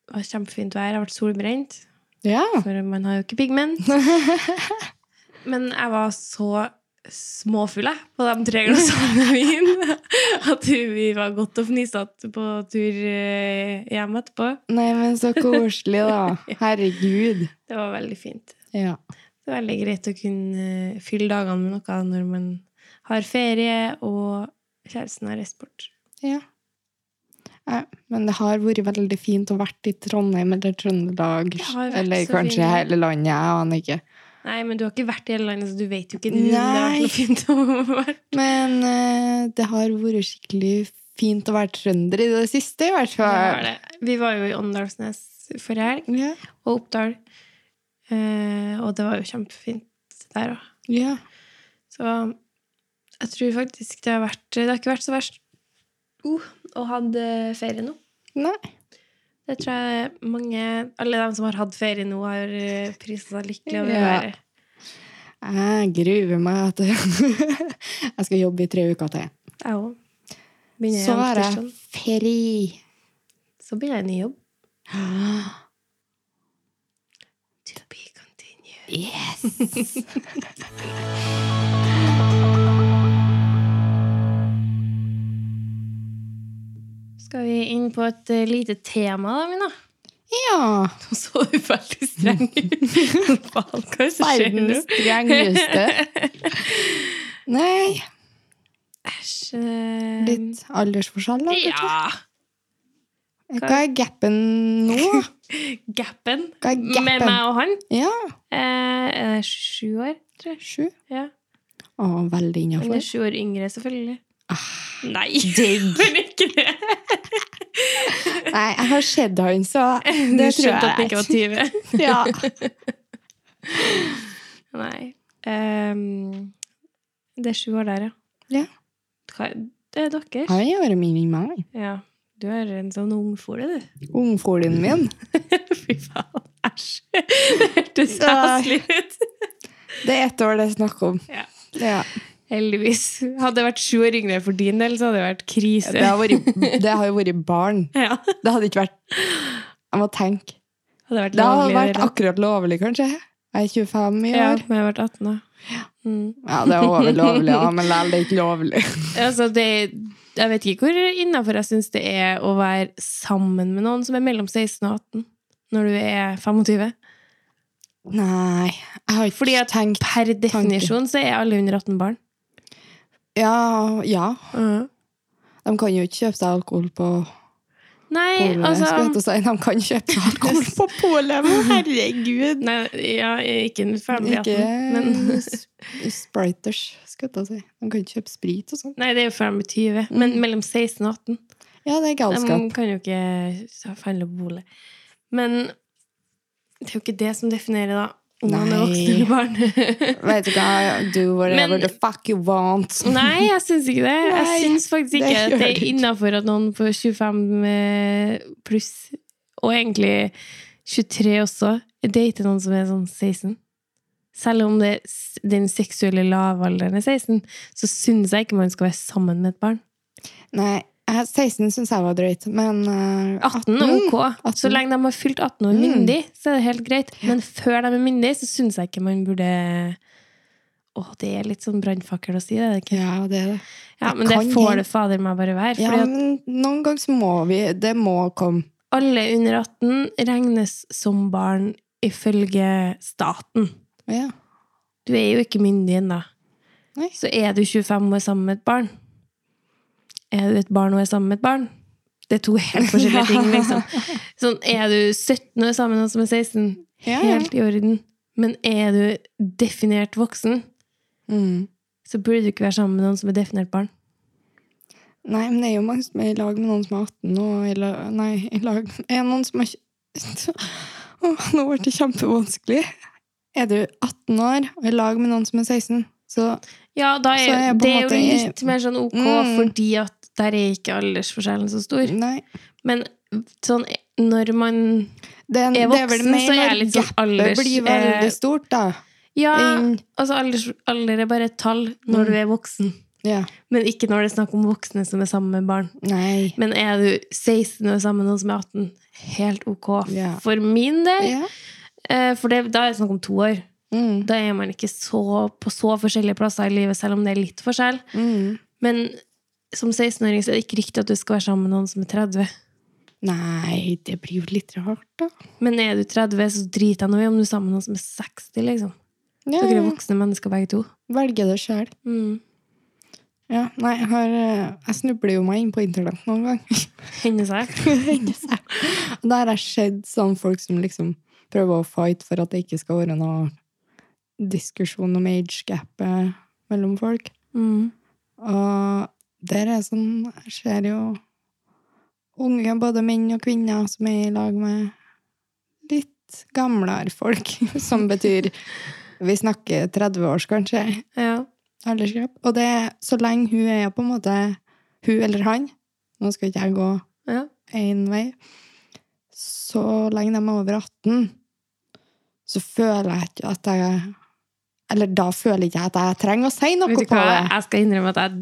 Speaker 1: det var kjempefint vær. Jeg ble solbrent,
Speaker 2: ja.
Speaker 1: for man har jo ikke pigment. Men jeg var så småfull jeg, på de tre glassene med vin at vi var godt og fnisete på tur eh, hjem etterpå.
Speaker 2: Nei, men så koselig, da. Herregud.
Speaker 1: Det var veldig fint.
Speaker 2: Ja.
Speaker 1: Det er veldig greit å kunne eh, fylle dagene med noe når man har ferie og kjæresten har reist bort.
Speaker 2: Ja. Nei, men det har vært veldig fint å vært i Trondheim eller Trøndelag.
Speaker 1: Det har vært
Speaker 2: Eller
Speaker 1: så
Speaker 2: kanskje
Speaker 1: fint.
Speaker 2: hele landet. Jeg aner ikke.
Speaker 1: Nei, men du har ikke vært i hele landet, så du vet jo ikke om det har vært
Speaker 2: Nei.
Speaker 1: noe fint å være.
Speaker 2: Men eh, det har vært skikkelig fint å være trønder i det siste, i hvert
Speaker 1: Det var
Speaker 2: fall.
Speaker 1: det. Vi var jo i Åndalsnes forrige helg,
Speaker 2: Ja.
Speaker 1: og Oppdal. Eh, og det var jo kjempefint der òg.
Speaker 2: ja.
Speaker 1: Så jeg tror faktisk det har vært Det har ikke vært så verst uh, å ha ferie nå.
Speaker 2: Nei.
Speaker 1: Det tror jeg mange Alle de som har hatt ferie nå, har eh, prisa seg lykkelig over
Speaker 2: Ja.
Speaker 1: været.
Speaker 2: Jeg gruer meg til Jeg skal jobbe i tre uker til.
Speaker 1: Jeg òg. Begynner
Speaker 2: Så
Speaker 1: jeg
Speaker 2: er
Speaker 1: på
Speaker 2: jeg
Speaker 1: tirsdag,
Speaker 2: fri.
Speaker 1: så begynner jeg en ny jobb. To be continued.
Speaker 2: Yes!
Speaker 1: Skal vi inn på et eh, lite tema, da, Mina?
Speaker 2: Ja.
Speaker 1: Nå så du veldig streng ut. Faen, hva er det som skjer nå?
Speaker 2: Verdens strengeste. Nei.
Speaker 1: Æsj. eh,
Speaker 2: Litt aldersforskjell, da. kanskje?
Speaker 1: Ja!
Speaker 2: Hva er gapen nå?
Speaker 1: Gapen
Speaker 2: Hva er gapen?
Speaker 1: med meg og han
Speaker 2: Ja,
Speaker 1: Eh, er det sju år, tror jeg.
Speaker 2: sju.
Speaker 1: Ja.
Speaker 2: Å, veldig
Speaker 1: Han er
Speaker 2: innafor.
Speaker 1: sju år yngre, selvfølgelig.
Speaker 2: Ah,
Speaker 1: Nei, men ikke det!
Speaker 2: Nei, jeg har sett han, så
Speaker 1: Du
Speaker 2: det tror jeg.
Speaker 1: skjønte at han ikke var 20.
Speaker 2: ja.
Speaker 1: Nei. Ehm, det er sju år der, ja.
Speaker 2: Ja.
Speaker 1: Hva, det er dere.
Speaker 2: Han er året min enn meg.
Speaker 1: Ja. Du er en sånn ungfole, du.
Speaker 2: Ungfolen min.
Speaker 1: Fy faen. Æsj. Det hørtes så heslig ut.
Speaker 2: Det er ett år det er snakk om.
Speaker 1: Ja.
Speaker 2: Ja.
Speaker 1: Heldigvis. Hadde jeg vært sju år yngre for din del, så hadde det vært krise.
Speaker 2: Det, har vært, det har jo vært barn.
Speaker 1: Ja.
Speaker 2: Det hadde ikke vært Jeg må tenke.
Speaker 1: Hadde vært
Speaker 2: Det hadde
Speaker 1: lovlig,
Speaker 2: vært
Speaker 1: det.
Speaker 2: akkurat lovlig, kanskje. Jeg er 25 i
Speaker 1: Ja,
Speaker 2: år.
Speaker 1: men jeg har vært 18 da. Mm.
Speaker 2: Ja, det er over lovlig, da, men likevel, det er ikke lovlig.
Speaker 1: Altså, det, jeg vet ikke hvor innafor jeg syns det er å være sammen med noen som er mellom 16 og 18 når du er 25.
Speaker 2: Nei, jeg har ikke
Speaker 1: Fordi at
Speaker 2: tenkt
Speaker 1: Per definisjon så er alle under 18 barn.
Speaker 2: Ja, ja.
Speaker 1: Mhm.
Speaker 2: De kan jo ikke kjøpe seg alkohol på
Speaker 1: Nei,
Speaker 2: Polet, skulle jeg
Speaker 1: altså
Speaker 2: til å si. De kan kjøpe alkohol på polet, men herregud!
Speaker 1: Nei, ja, ikke
Speaker 2: Ikke
Speaker 1: ferdigheten, men
Speaker 2: s- Spriters, skulle jeg til å si. De kan kjøpe sprit og sånn.
Speaker 1: Nei, det er jo fram i 20, men mellom 16 og 18.
Speaker 2: Ja, det er galskap.
Speaker 1: De kan jo ikke handle på bolig. Men det er jo ikke det som definerer da om man er
Speaker 2: Nei.
Speaker 1: voksen eller barn.
Speaker 2: Vet du hva, do whatever
Speaker 1: Men-
Speaker 2: the fuck you want.
Speaker 1: Nei, jeg syns ikke det.
Speaker 2: Nei,
Speaker 1: jeg syns faktisk
Speaker 2: det
Speaker 1: ikke at det
Speaker 2: gjør
Speaker 1: er
Speaker 2: du ikke.
Speaker 1: innafor at noen på 25 eh, pluss, og egentlig 23 også, dater noen som er sånn 16. Selv om det, den seksuelle lavalderen er 16, så syns jeg ikke man skal være sammen med et barn.
Speaker 2: Nei, jeg- 16 syns jeg var drøyt, men eh,
Speaker 1: 18 er ok.
Speaker 2: 18.
Speaker 1: Så lenge de har fylt 18 år
Speaker 2: Mm.
Speaker 1: myndig, så er det helt greit. Men før de er myndige, så syns jeg ikke man burde Å, det er litt sånn brannfakkel å si, det er det ikke?
Speaker 2: Ja, det er det.
Speaker 1: Ja,
Speaker 2: Det
Speaker 1: men det
Speaker 2: kan
Speaker 1: får
Speaker 2: hende.
Speaker 1: det fader meg bare være.
Speaker 2: Ja,
Speaker 1: fordi at
Speaker 2: men noen ganger så må vi Det må komme.
Speaker 1: alle under 18 regnes som barn ifølge staten.
Speaker 2: Ja.
Speaker 1: Du er jo ikke myndig ennå.
Speaker 2: Nei.
Speaker 1: Så er du 25 år sammen med et barn. Er du et barn og er sammen med et barn? Det er to helt forskjellige ting, liksom. Sånn, er du 17 år sammen med noen som er 16?
Speaker 2: Ja, ja.
Speaker 1: Helt i orden. Men er du definert voksen,
Speaker 2: Mm.
Speaker 1: så burde du ikke være sammen med noen som er definert barn.
Speaker 2: Nei, men det er jo mange som er i lag med noen som er 18 og i la- Nei, i lag Er noen som er tj- Åh, Nå ble det kjempevanskelig. Er du 18 år og i lag med noen som er 16, så
Speaker 1: Ja, da
Speaker 2: Så
Speaker 1: er,
Speaker 2: er jeg på en
Speaker 1: det er jo
Speaker 2: måte-
Speaker 1: litt mer sånn ok,
Speaker 2: Mm.
Speaker 1: fordi at der er ikke aldersforskjellen så stor.
Speaker 2: Nei.
Speaker 1: Men sånn når man
Speaker 2: Det er,
Speaker 1: er
Speaker 2: det er vel
Speaker 1: voksen,
Speaker 2: mer
Speaker 1: så er jeg
Speaker 2: når
Speaker 1: litt sånn
Speaker 2: det
Speaker 1: alders...
Speaker 2: blir
Speaker 1: eh,
Speaker 2: veldig stort, da.
Speaker 1: ja,
Speaker 2: Inn-
Speaker 1: altså alders, alder er bare et tall når
Speaker 2: Mm.
Speaker 1: du er voksen.
Speaker 2: Ja.
Speaker 1: Men ikke når det er snakk om voksne som er sammen med barn.
Speaker 2: Nei.
Speaker 1: Men er du 16 og sammen med noen som er 18, helt ok.
Speaker 2: Ja.
Speaker 1: For min del,
Speaker 2: Ja.
Speaker 1: eh, for det, da er det snakk om to år.
Speaker 2: Mm.
Speaker 1: Da er man ikke så, på så forskjellige plasser i livet, selv om det er litt forskjell.
Speaker 2: Mm.
Speaker 1: Men som 16-åring så er det ikke riktig at du skal være sammen med noen som er 30.
Speaker 2: Nei, det blir jo litt rart, da.
Speaker 1: Men er du 30, så driter jeg nå i om du er sammen med noen som er 60, liksom.
Speaker 2: Ja,
Speaker 1: Dere er
Speaker 2: ja.
Speaker 1: voksne mennesker begge to.
Speaker 2: Velge det sjøl.
Speaker 1: Mm.
Speaker 2: Ja, nei, jeg, har, eh, jeg snubler jo meg inn på internett noen ganger.
Speaker 1: Hender seg.
Speaker 2: Og Der har jeg sett sånn folk som liksom prøver å fight for at det ikke skal være noe diskusjon om age-gapet mellom folk.
Speaker 1: Mm.
Speaker 2: Og der er sånn Jeg ser jo unge, både menn og kvinner, som er i lag med litt gamlere folk. Som betyr Vi snakker 30 års, kanskje.
Speaker 1: Ja.
Speaker 2: aldersgrep. Og det er så lenge hun er på en måte Hun eller han Nå skal ikke jeg gå
Speaker 1: ja.
Speaker 2: én vei. Så lenge de er over 18, så føler jeg ikke at jeg Eller da føler ikke jeg at jeg trenger å si noe
Speaker 1: Vet du
Speaker 2: på
Speaker 1: hva?
Speaker 2: det.
Speaker 1: Jeg skal innrømme at jeg,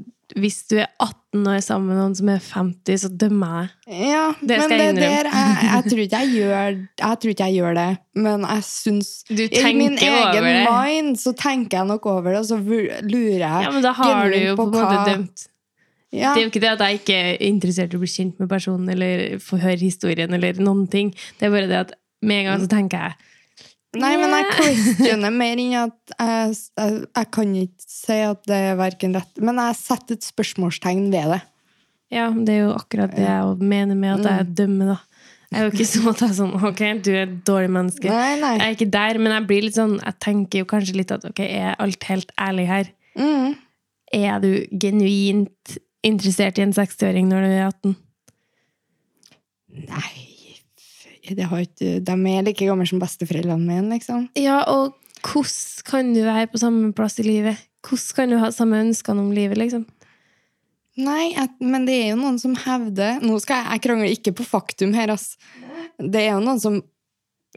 Speaker 1: hvis du er 18 år sammen med noen som er 50, så dømmer jeg deg.
Speaker 2: Ja,
Speaker 1: Det
Speaker 2: men
Speaker 1: skal
Speaker 2: det
Speaker 1: jeg
Speaker 2: der jeg, jeg tror ikke jeg gjør Jeg tror ikke jeg gjør det, men jeg syns
Speaker 1: Du
Speaker 2: I min
Speaker 1: tenker over
Speaker 2: egen
Speaker 1: det.
Speaker 2: mind så tenker jeg nok over det, og så vur- lurer jeg.
Speaker 1: Ja, men da har du
Speaker 2: genuint
Speaker 1: jo på en
Speaker 2: hva-
Speaker 1: måte dømt.
Speaker 2: Ja.
Speaker 1: Det er jo ikke det at jeg ikke er interessert i å bli kjent med personen eller få høre historien eller noen ting. Det er bare det at med en gang så tenker jeg
Speaker 2: Nei, men jeg
Speaker 1: Nei.
Speaker 2: questioner mer enn at jeg, jeg, jeg kan ikke si at det er verken rett Men jeg setter et spørsmålstegn ved det.
Speaker 1: Ja, men det er jo akkurat det jeg mener med at jeg dømmer, da. Jeg er jo ikke sånn at jeg er sånn Ok, du er et dårlig menneske.
Speaker 2: Nei, nei.
Speaker 1: Jeg er ikke der, men jeg blir litt sånn Jeg tenker jo kanskje litt at ok, er alt helt ærlig her?
Speaker 2: Mm.
Speaker 1: Er du genuint interessert i en 60-åring når du er 18?
Speaker 2: Nei, f- det har ikke, de er like gamle som besteforeldrene mine, liksom.
Speaker 1: Ja, og hvordan kan du være på samme plass i livet? Hvordan kan du ha samme ønskene om livet, liksom?
Speaker 2: Nei, jeg, men det er jo noen som hevder Nå skal jeg, jeg krangler ikke på faktum her, ass. Det er jo noen som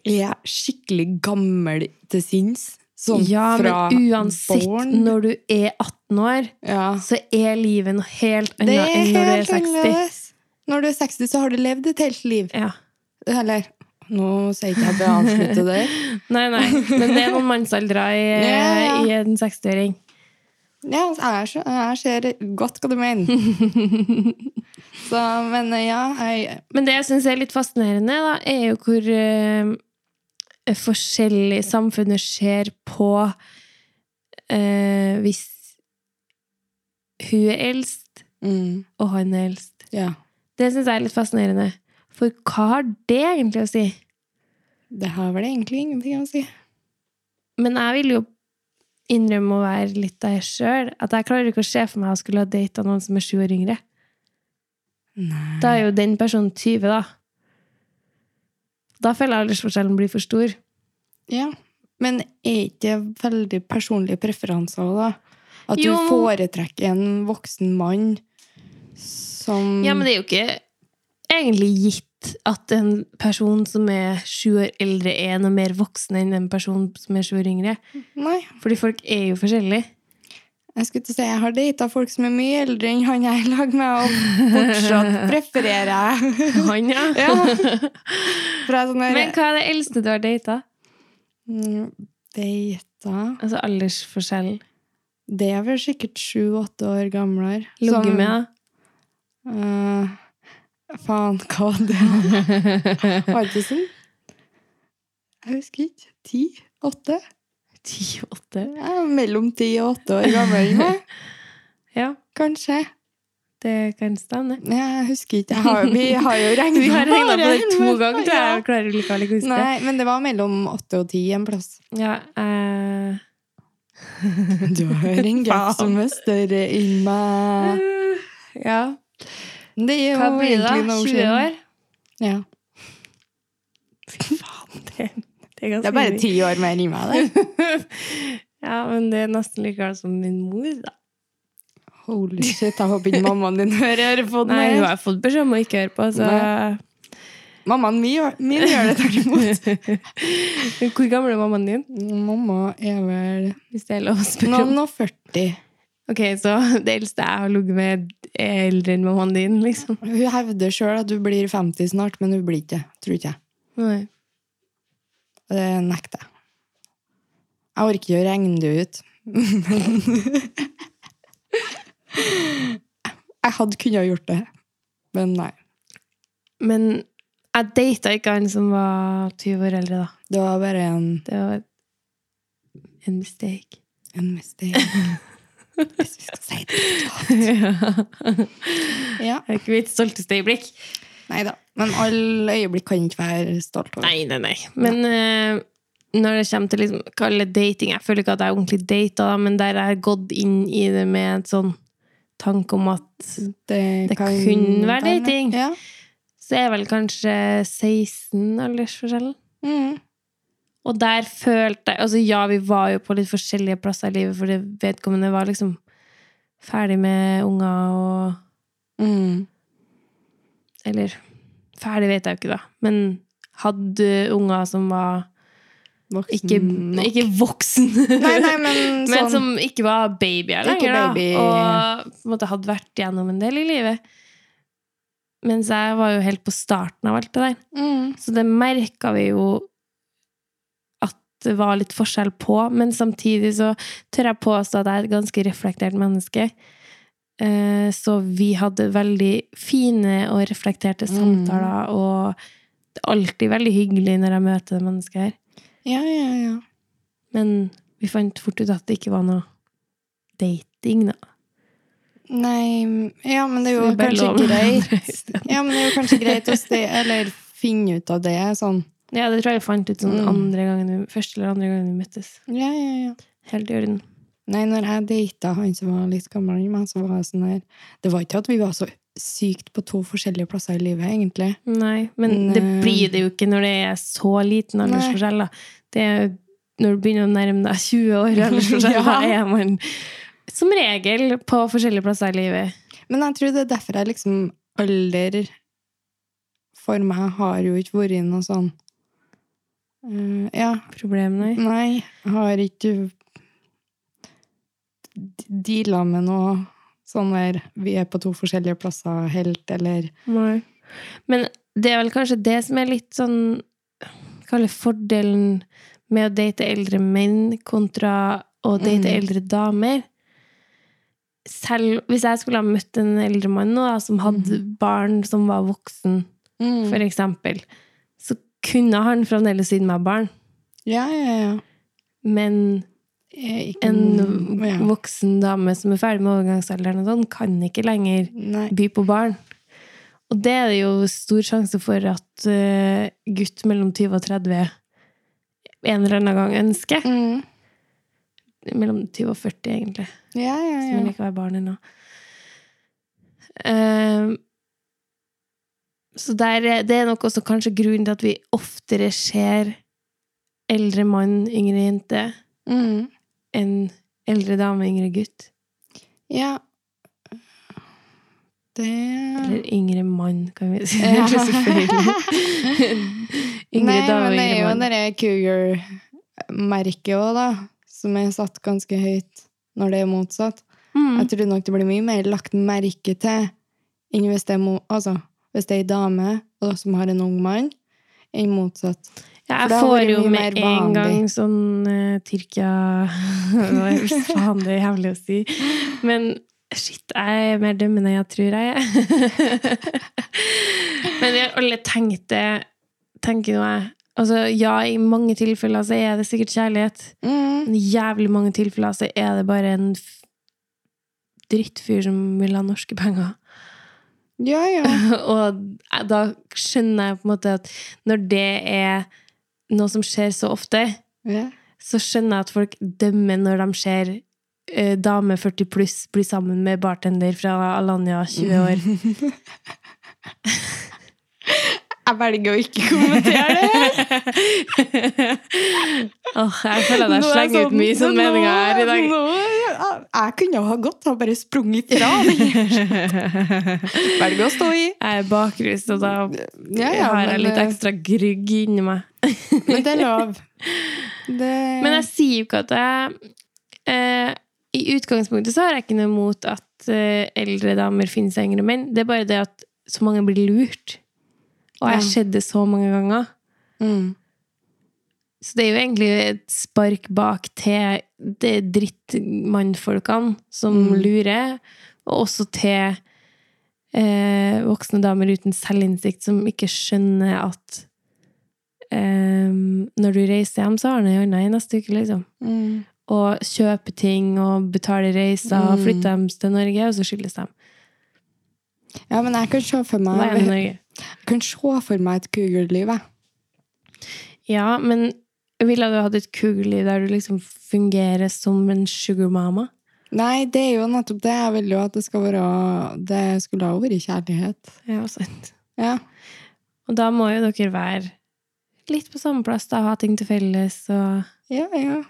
Speaker 2: er skikkelig gammel til sinns. Sånn
Speaker 1: ja,
Speaker 2: fra
Speaker 1: men uansett,
Speaker 2: barn.
Speaker 1: når du er 18 år,
Speaker 2: Ja.
Speaker 1: så er livet noe helt annet
Speaker 2: Det er
Speaker 1: enn når du er
Speaker 2: helt
Speaker 1: 60.
Speaker 2: annerledes. Når du er 60, så har du levd et helt liv.
Speaker 1: Ja.
Speaker 2: Eller Nå sier ikke jeg at jeg avslutter det.
Speaker 1: Nei, nei, men det er noen mannsaldre i,
Speaker 2: Ja, ja.
Speaker 1: i en 60-åring.
Speaker 2: Ja, altså, jeg, skjø- jeg ser godt hva du mener. Så, men eh, ja, jeg
Speaker 1: Men det jeg syns er litt fascinerende, da, er jo hvor eh, forskjellig samfunnet ser på eh, hvis hun er eldst,
Speaker 2: mm,
Speaker 1: og han er eldst.
Speaker 2: Ja.
Speaker 1: Det syns jeg er litt fascinerende. For hva har det egentlig å si?
Speaker 2: Det har vel egentlig ingenting å si.
Speaker 1: Men jeg vil jo innrømme å være litt av jeg sjøl. At jeg klarer ikke å se for meg å skulle ha data noen som er sju år yngre.
Speaker 2: Nei.
Speaker 1: Da er jo den personen 20, da. Da føler jeg aldersforskjellen blir for stor.
Speaker 2: Ja. Men er ikke det veldig personlige preferanser òg, da? At
Speaker 1: Jo.
Speaker 2: du foretrekker en voksen mann som
Speaker 1: Ja, men det er jo ikke egentlig gitt at en person som er sju år eldre, er noe mer voksen enn en person som er sju år yngre.
Speaker 2: Nei.
Speaker 1: Fordi folk er jo forskjellige.
Speaker 2: Jeg skulle til å si jeg har data folk som er mye eldre enn han jeg er i lag med, og fortsatt prefererer jeg.
Speaker 1: Han, ja.
Speaker 2: ja. For jeg er sånn der-
Speaker 1: Men hva er det eldste du har data?
Speaker 2: Mm, Data
Speaker 1: Altså aldersforskjell.
Speaker 2: Det er vel sikkert sju-åtte år gamlere.
Speaker 1: Ligget
Speaker 2: Som-
Speaker 1: med, da?
Speaker 2: Eh, faen, hva var det Var det ikke sånn? Jeg husker ikke. Ti? Åtte?
Speaker 1: Ti-åtte?
Speaker 2: Ja, mellom ti og åtte år gammel enn meg,
Speaker 1: Ja,
Speaker 2: kanskje.
Speaker 1: det kan stemme.
Speaker 2: Ja, jeg husker ikke. Jeg har, vi har jo regna
Speaker 1: Vi har regna på det to ganger, tror jeg. Jeg klarer likevel ikke å huske det.
Speaker 2: Nei, men det var mellom åtte og ti en plass.
Speaker 1: Ja, eh,
Speaker 2: Du har en
Speaker 1: Faen.
Speaker 2: gap som er større enn meg.
Speaker 1: ja.
Speaker 2: Det er jo
Speaker 1: Hva blir det, da?
Speaker 2: egentlig noe
Speaker 1: 20
Speaker 2: siden.
Speaker 1: år?
Speaker 2: Ja.
Speaker 1: Fy faen, det, det er
Speaker 2: Det
Speaker 1: ganske
Speaker 2: er bare
Speaker 1: mye.
Speaker 2: ti år mer enn meg, det.
Speaker 1: Ja, men det er nesten like galt som min mor, da.
Speaker 2: Holy shit, jeg håper ikke mammaen din hører på den.
Speaker 1: Nei,
Speaker 2: her.
Speaker 1: hun har fått beskjed om å ikke høre på, så
Speaker 2: Nei. Mammaen min, gjør- min gjør det tvert imot.
Speaker 1: Hvor gammel er mammaen din?
Speaker 2: Mamma er vel
Speaker 1: Hvis det er lov å spørre om.
Speaker 2: noen og 40.
Speaker 1: Ok, så det eldste jeg har ligget med, er eldre enn mammaen din, liksom.
Speaker 2: Hun hevder sjøl at hun blir 50 snart, men hun blir ikke det. Tror ikke jeg.
Speaker 1: Nei.
Speaker 2: Og Det nekter jeg. Jeg orker ikke å regne det ut. jeg hadde kunnet ha gjort det, men nei.
Speaker 1: Men jeg data ikke han som var 20 år eldre, da.
Speaker 2: Det var bare en,
Speaker 1: Det var en mistake.
Speaker 2: en mistake. Hvis vi skal si det. Ja.
Speaker 1: Det er ikke mitt stolteste øyeblikk.
Speaker 2: Nei da. Men alle øyeblikk kan ikke være stolt over.
Speaker 1: Nei, nei, nei. Men eh, når det kommer til liksom, kalle det dating Jeg føler ikke at jeg er ordentlig data, da, men der jeg har gått inn i det med en sånn tanke om at Det kunne være dating.
Speaker 2: Ja.
Speaker 1: Så er vel kanskje 16 aldersforskjellen.
Speaker 2: Mm.
Speaker 1: Og der følte jeg Altså, ja, vi var jo på litt forskjellige plasser i livet, for det vedkommende var liksom ferdig med unger og
Speaker 2: Mm.
Speaker 1: Eller ferdig vet jeg jo ikke, da. Men hadde unger som var
Speaker 2: Voksen
Speaker 1: ikke,
Speaker 2: nok.
Speaker 1: ikke voksen,
Speaker 2: Nei, nei, men sånn
Speaker 1: men som ikke var babyer
Speaker 2: Ikke
Speaker 1: lenger,
Speaker 2: baby.
Speaker 1: da. Og på en måte hadde vært gjennom en del i livet. Mens jeg var jo helt på starten av alt det der.
Speaker 2: mm.
Speaker 1: Så det merka vi jo at det var litt forskjell på. Men samtidig så tør jeg påstå at jeg er et ganske reflektert menneske. Eh, Så vi hadde veldig fine og reflekterte
Speaker 2: Mm.
Speaker 1: samtaler, og det er alltid veldig hyggelig når jeg møter det mennesket her.
Speaker 2: Ja, ja, ja.
Speaker 1: Men vi fant fort ut at det ikke var noe dating, da.
Speaker 2: Nei Ja, men det
Speaker 1: Så
Speaker 2: er jo
Speaker 1: vi bare
Speaker 2: kanskje
Speaker 1: lå med
Speaker 2: greit
Speaker 1: hverandre
Speaker 2: Ja, men det er jo kanskje greit å ste, eller finne ut av det sånn.
Speaker 1: Ja, det tror jeg vi fant ut sånn
Speaker 2: Mm.
Speaker 1: andre gangen vi, første eller andre gangen vi møttes.
Speaker 2: Ja, ja, ja.
Speaker 1: Helt i orden.
Speaker 2: Nei, når jeg data han som var litt gammel enn meg, så var jeg sånn her Det var ikke at vi var så sykt på to forskjellige plasser i livet, egentlig.
Speaker 1: Nei, men det
Speaker 2: Nei.
Speaker 1: blir det jo ikke når det er så liten aldersforskjell. Da. Det er jo når du begynner å nærme deg 20 år aldersforskjell,
Speaker 2: Ja.
Speaker 1: da er man som regel på forskjellige plasser i livet.
Speaker 2: Men jeg tror det er derfor jeg liksom alder for meg har jo ikke vært noe sånn Eh, Ja,
Speaker 1: Problem, nei.
Speaker 2: Nei, jeg har ikke d- deala med noe sånn der Vi er på to forskjellige plasser helt, eller
Speaker 1: nei. Men det er vel kanskje det som er litt sånn Kaller fordelen med å date eldre menn kontra å date
Speaker 2: Mm.
Speaker 1: eldre damer. Selv hvis jeg skulle ha møtt en eldre mann nå, da, som hadde
Speaker 2: Mm.
Speaker 1: barn som var voksen for
Speaker 2: For-
Speaker 1: eksempel, så kunne han fremdeles gitt meg barn.
Speaker 2: Ja, ja, ja.
Speaker 1: Men
Speaker 2: Jeg- ikke-
Speaker 1: en
Speaker 2: Mm, ja.
Speaker 1: voksen dame som er ferdig med overgangsalderen, og sånn, kan ikke lenger
Speaker 2: Nei.
Speaker 1: by på barn. Og det er det jo stor sjanse for at eh, gutt mellom 20 og 30 en eller annen gang ønsker.
Speaker 2: Mm.
Speaker 1: Mellom 20 og 40, egentlig.
Speaker 2: Ja, ja,
Speaker 1: Som vil
Speaker 2: ja.
Speaker 1: ikke være barn ennå. Ehm, så der, er- det er nok også kanskje grunnen til at vi oftere ser eldre mann, yngre jente,
Speaker 2: Mm.
Speaker 1: enn eldre dame, yngre gutt.
Speaker 2: ja. Det
Speaker 1: Eller yngre mann, kan vi si.
Speaker 2: Ja.
Speaker 1: Det er så feil. yngre
Speaker 2: Nei,
Speaker 1: dame,
Speaker 2: men det er
Speaker 1: yngre
Speaker 2: jo
Speaker 1: mann.
Speaker 2: det cougar-merket òg, da. Som er satt ganske høyt når det er motsatt.
Speaker 1: Mm.
Speaker 2: Jeg tror nok det blir mye mer lagt merke til enn hvis det er, mo altså, hvis det er ei dame og som har en ung mann, enn motsatt.
Speaker 1: Ja,
Speaker 2: For
Speaker 1: jeg
Speaker 2: det har
Speaker 1: får
Speaker 2: vært
Speaker 1: jo
Speaker 2: mye
Speaker 1: med
Speaker 2: mer
Speaker 1: en
Speaker 2: vanlig.
Speaker 1: gang sånn eh, Tyrkia Hva er det faen det er jævlig å si? Men shit, jeg er mer dømmende enn jeg tror jeg er. Men vi har alle tenkt det, tenker nå jeg. Altså, ja, i mange tilfeller så er det sikkert kjærlighet.
Speaker 2: Mm.
Speaker 1: Men i jævlig mange tilfeller så er det bare en f- drittfyr som vil ha norske penger.
Speaker 2: Ja, ja.
Speaker 1: Og da skjønner jeg på en måte at når det er noe som skjer så ofte,
Speaker 2: ja.
Speaker 1: så skjønner jeg at folk dømmer når de ser eh, dame 40 pluss bli sammen med bartender fra Alanya 20 år.
Speaker 2: Jeg velger å ikke kommentere det.
Speaker 1: Åh, jeg føler at jeg slenger ut mye sånne meninger her i dag.
Speaker 2: sånn- Nå, jeg kunne ha gått og bare sprunget fra den. Velger å stå i.
Speaker 1: Jeg er bakrus, og da
Speaker 2: Ja, ja,
Speaker 1: har jeg
Speaker 2: men,
Speaker 1: litt
Speaker 2: eh,
Speaker 1: ekstra grygg inni meg.
Speaker 2: Men det er lov. Det,
Speaker 1: Men jeg sier jo ikke at jeg eh, I utgangspunktet så har jeg ikke noe imot at eh, eldre damer finnes yngre menn. Det er bare det at så mange blir lurt. Og jeg
Speaker 2: Ja.
Speaker 1: har sett det så mange ganger.
Speaker 2: mm.
Speaker 1: Så det er jo egentlig et spark bak til det drittmannfolkene som
Speaker 2: Mm.
Speaker 1: lurer, og også til eh, voksne damer uten selvinnsikt som ikke skjønner at eh, når du reiser hjem, så har du ei anna i neste uke, liksom
Speaker 2: Mm.
Speaker 1: og kjøpe ting og betale reiser og
Speaker 2: Mm.
Speaker 1: flytte dem til Norge, og så skyldes de.
Speaker 2: ja, men jeg kan se for meg,
Speaker 1: Hva er det i Norge?
Speaker 2: jeg kan se for meg et Google-liv. jeg.
Speaker 1: Ja, men ville du hatt et kugeliv der du liksom fungerer som en sugar mama?
Speaker 2: Nei, det er jo nettopp det. Jeg vil jo at det skal være Det skulle ha vært kjærlighet.
Speaker 1: Ja, sant.
Speaker 2: Ja.
Speaker 1: Og da må jo dere være litt på samme plass, da, ha ting til felles, og
Speaker 2: Ja, ja.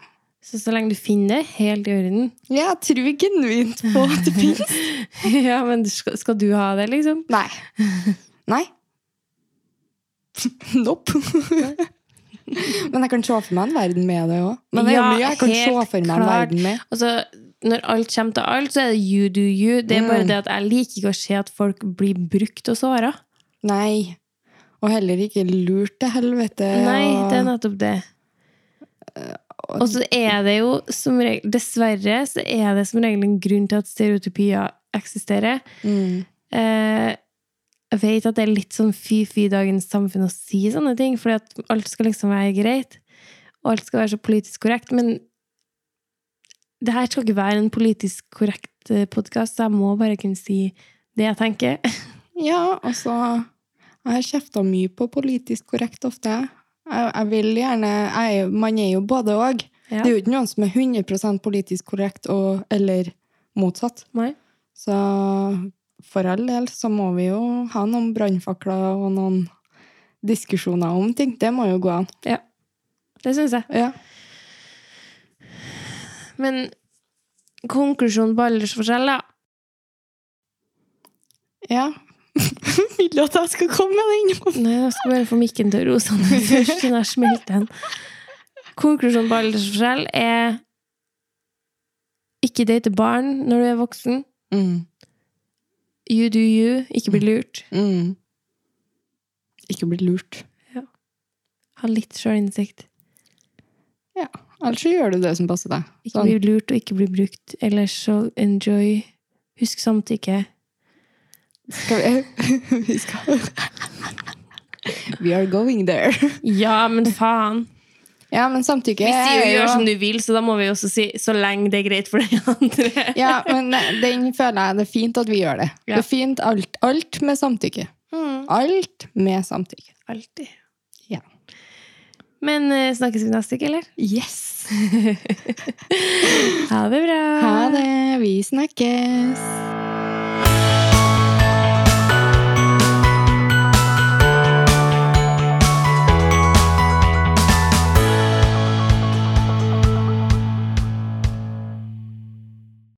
Speaker 1: så så lenge du finner det, helt i orden.
Speaker 2: Ja, Jeg tror genuint på at det finnes.
Speaker 1: ja, men skal, skal du ha det, liksom?
Speaker 2: Nei. Nei. Nope. Men jeg kan se for meg en verden med det òg. Men det er jo
Speaker 1: Ja,
Speaker 2: mye jeg kan se
Speaker 1: helt
Speaker 2: for meg en
Speaker 1: klart.
Speaker 2: verden med.
Speaker 1: Altså, når alt kommer til alt, så er det you do you. Det er bare
Speaker 2: Mm.
Speaker 1: det at jeg liker ikke å se at folk blir brukt og såra.
Speaker 2: Nei. Og heller ikke lurt til helvete.
Speaker 1: Nei,
Speaker 2: og-
Speaker 1: det er nettopp det.
Speaker 2: og-
Speaker 1: Og så er det jo som regel Dessverre så er det som regel en grunn til at stereotypier eksisterer.
Speaker 2: mm.
Speaker 1: Eh, jeg vet at det er litt sånn fy-fy i dagens samfunn å si sånne ting, fordi at alt skal liksom være greit, og alt skal være så politisk korrekt, men det her skal ikke være en politisk korrekt podkast, så jeg må bare kunne si det jeg tenker.
Speaker 2: Ja, altså Jeg har kjefta mye på politisk korrekt ofte. Jeg, jeg vil gjerne jeg, er jo- Man er jo både og.
Speaker 1: Ja.
Speaker 2: Det er jo ikke noen som er 100 politisk korrekt og, eller motsatt.
Speaker 1: Nei?
Speaker 2: Så for all del så må vi jo ha noen brannfakler og noen diskusjoner om ting. Det må jo gå an.
Speaker 1: Det syns jeg.
Speaker 2: Ja.
Speaker 1: Men konklusjonen på aldersforskjell, da.
Speaker 2: ja. Vil du at jeg skal komme med den? nå?
Speaker 1: Nei, jeg skal bare få mikken til å rose han først, siden jeg smelte den. Konklusjonen på aldersforskjell er ikke date barn når du er voksen.
Speaker 2: Mm.
Speaker 1: You do you. Ikke bli lurt.
Speaker 2: Mm. Ikke bli lurt.
Speaker 1: Ha litt sjølinnsikt.
Speaker 2: Ellers så gjør du det som passer deg.
Speaker 1: Ikke
Speaker 2: Sånn.
Speaker 1: bli lurt og ikke bli brukt. Ellers så enjoy. Husk samtykke.
Speaker 2: Skal vi, vi skal We are going there.
Speaker 1: Ja, men faen!
Speaker 2: Ja, men samtykke
Speaker 1: Vi sier jo
Speaker 2: er
Speaker 1: gjør som du vil, så da må vi også si så lenge det er greit for den andre.
Speaker 2: Ja, men den føler jeg det er fint at vi gjør det.
Speaker 1: Ja.
Speaker 2: Det er fint alt, alt med samtykke.
Speaker 1: Mm.
Speaker 2: Alt med samtykke.
Speaker 1: Alltid.
Speaker 2: Ja.
Speaker 1: Men eh, snakkes vi neste uke, eller?
Speaker 2: Yes!
Speaker 1: Ha det bra!
Speaker 2: Ha det. Vi snakkes.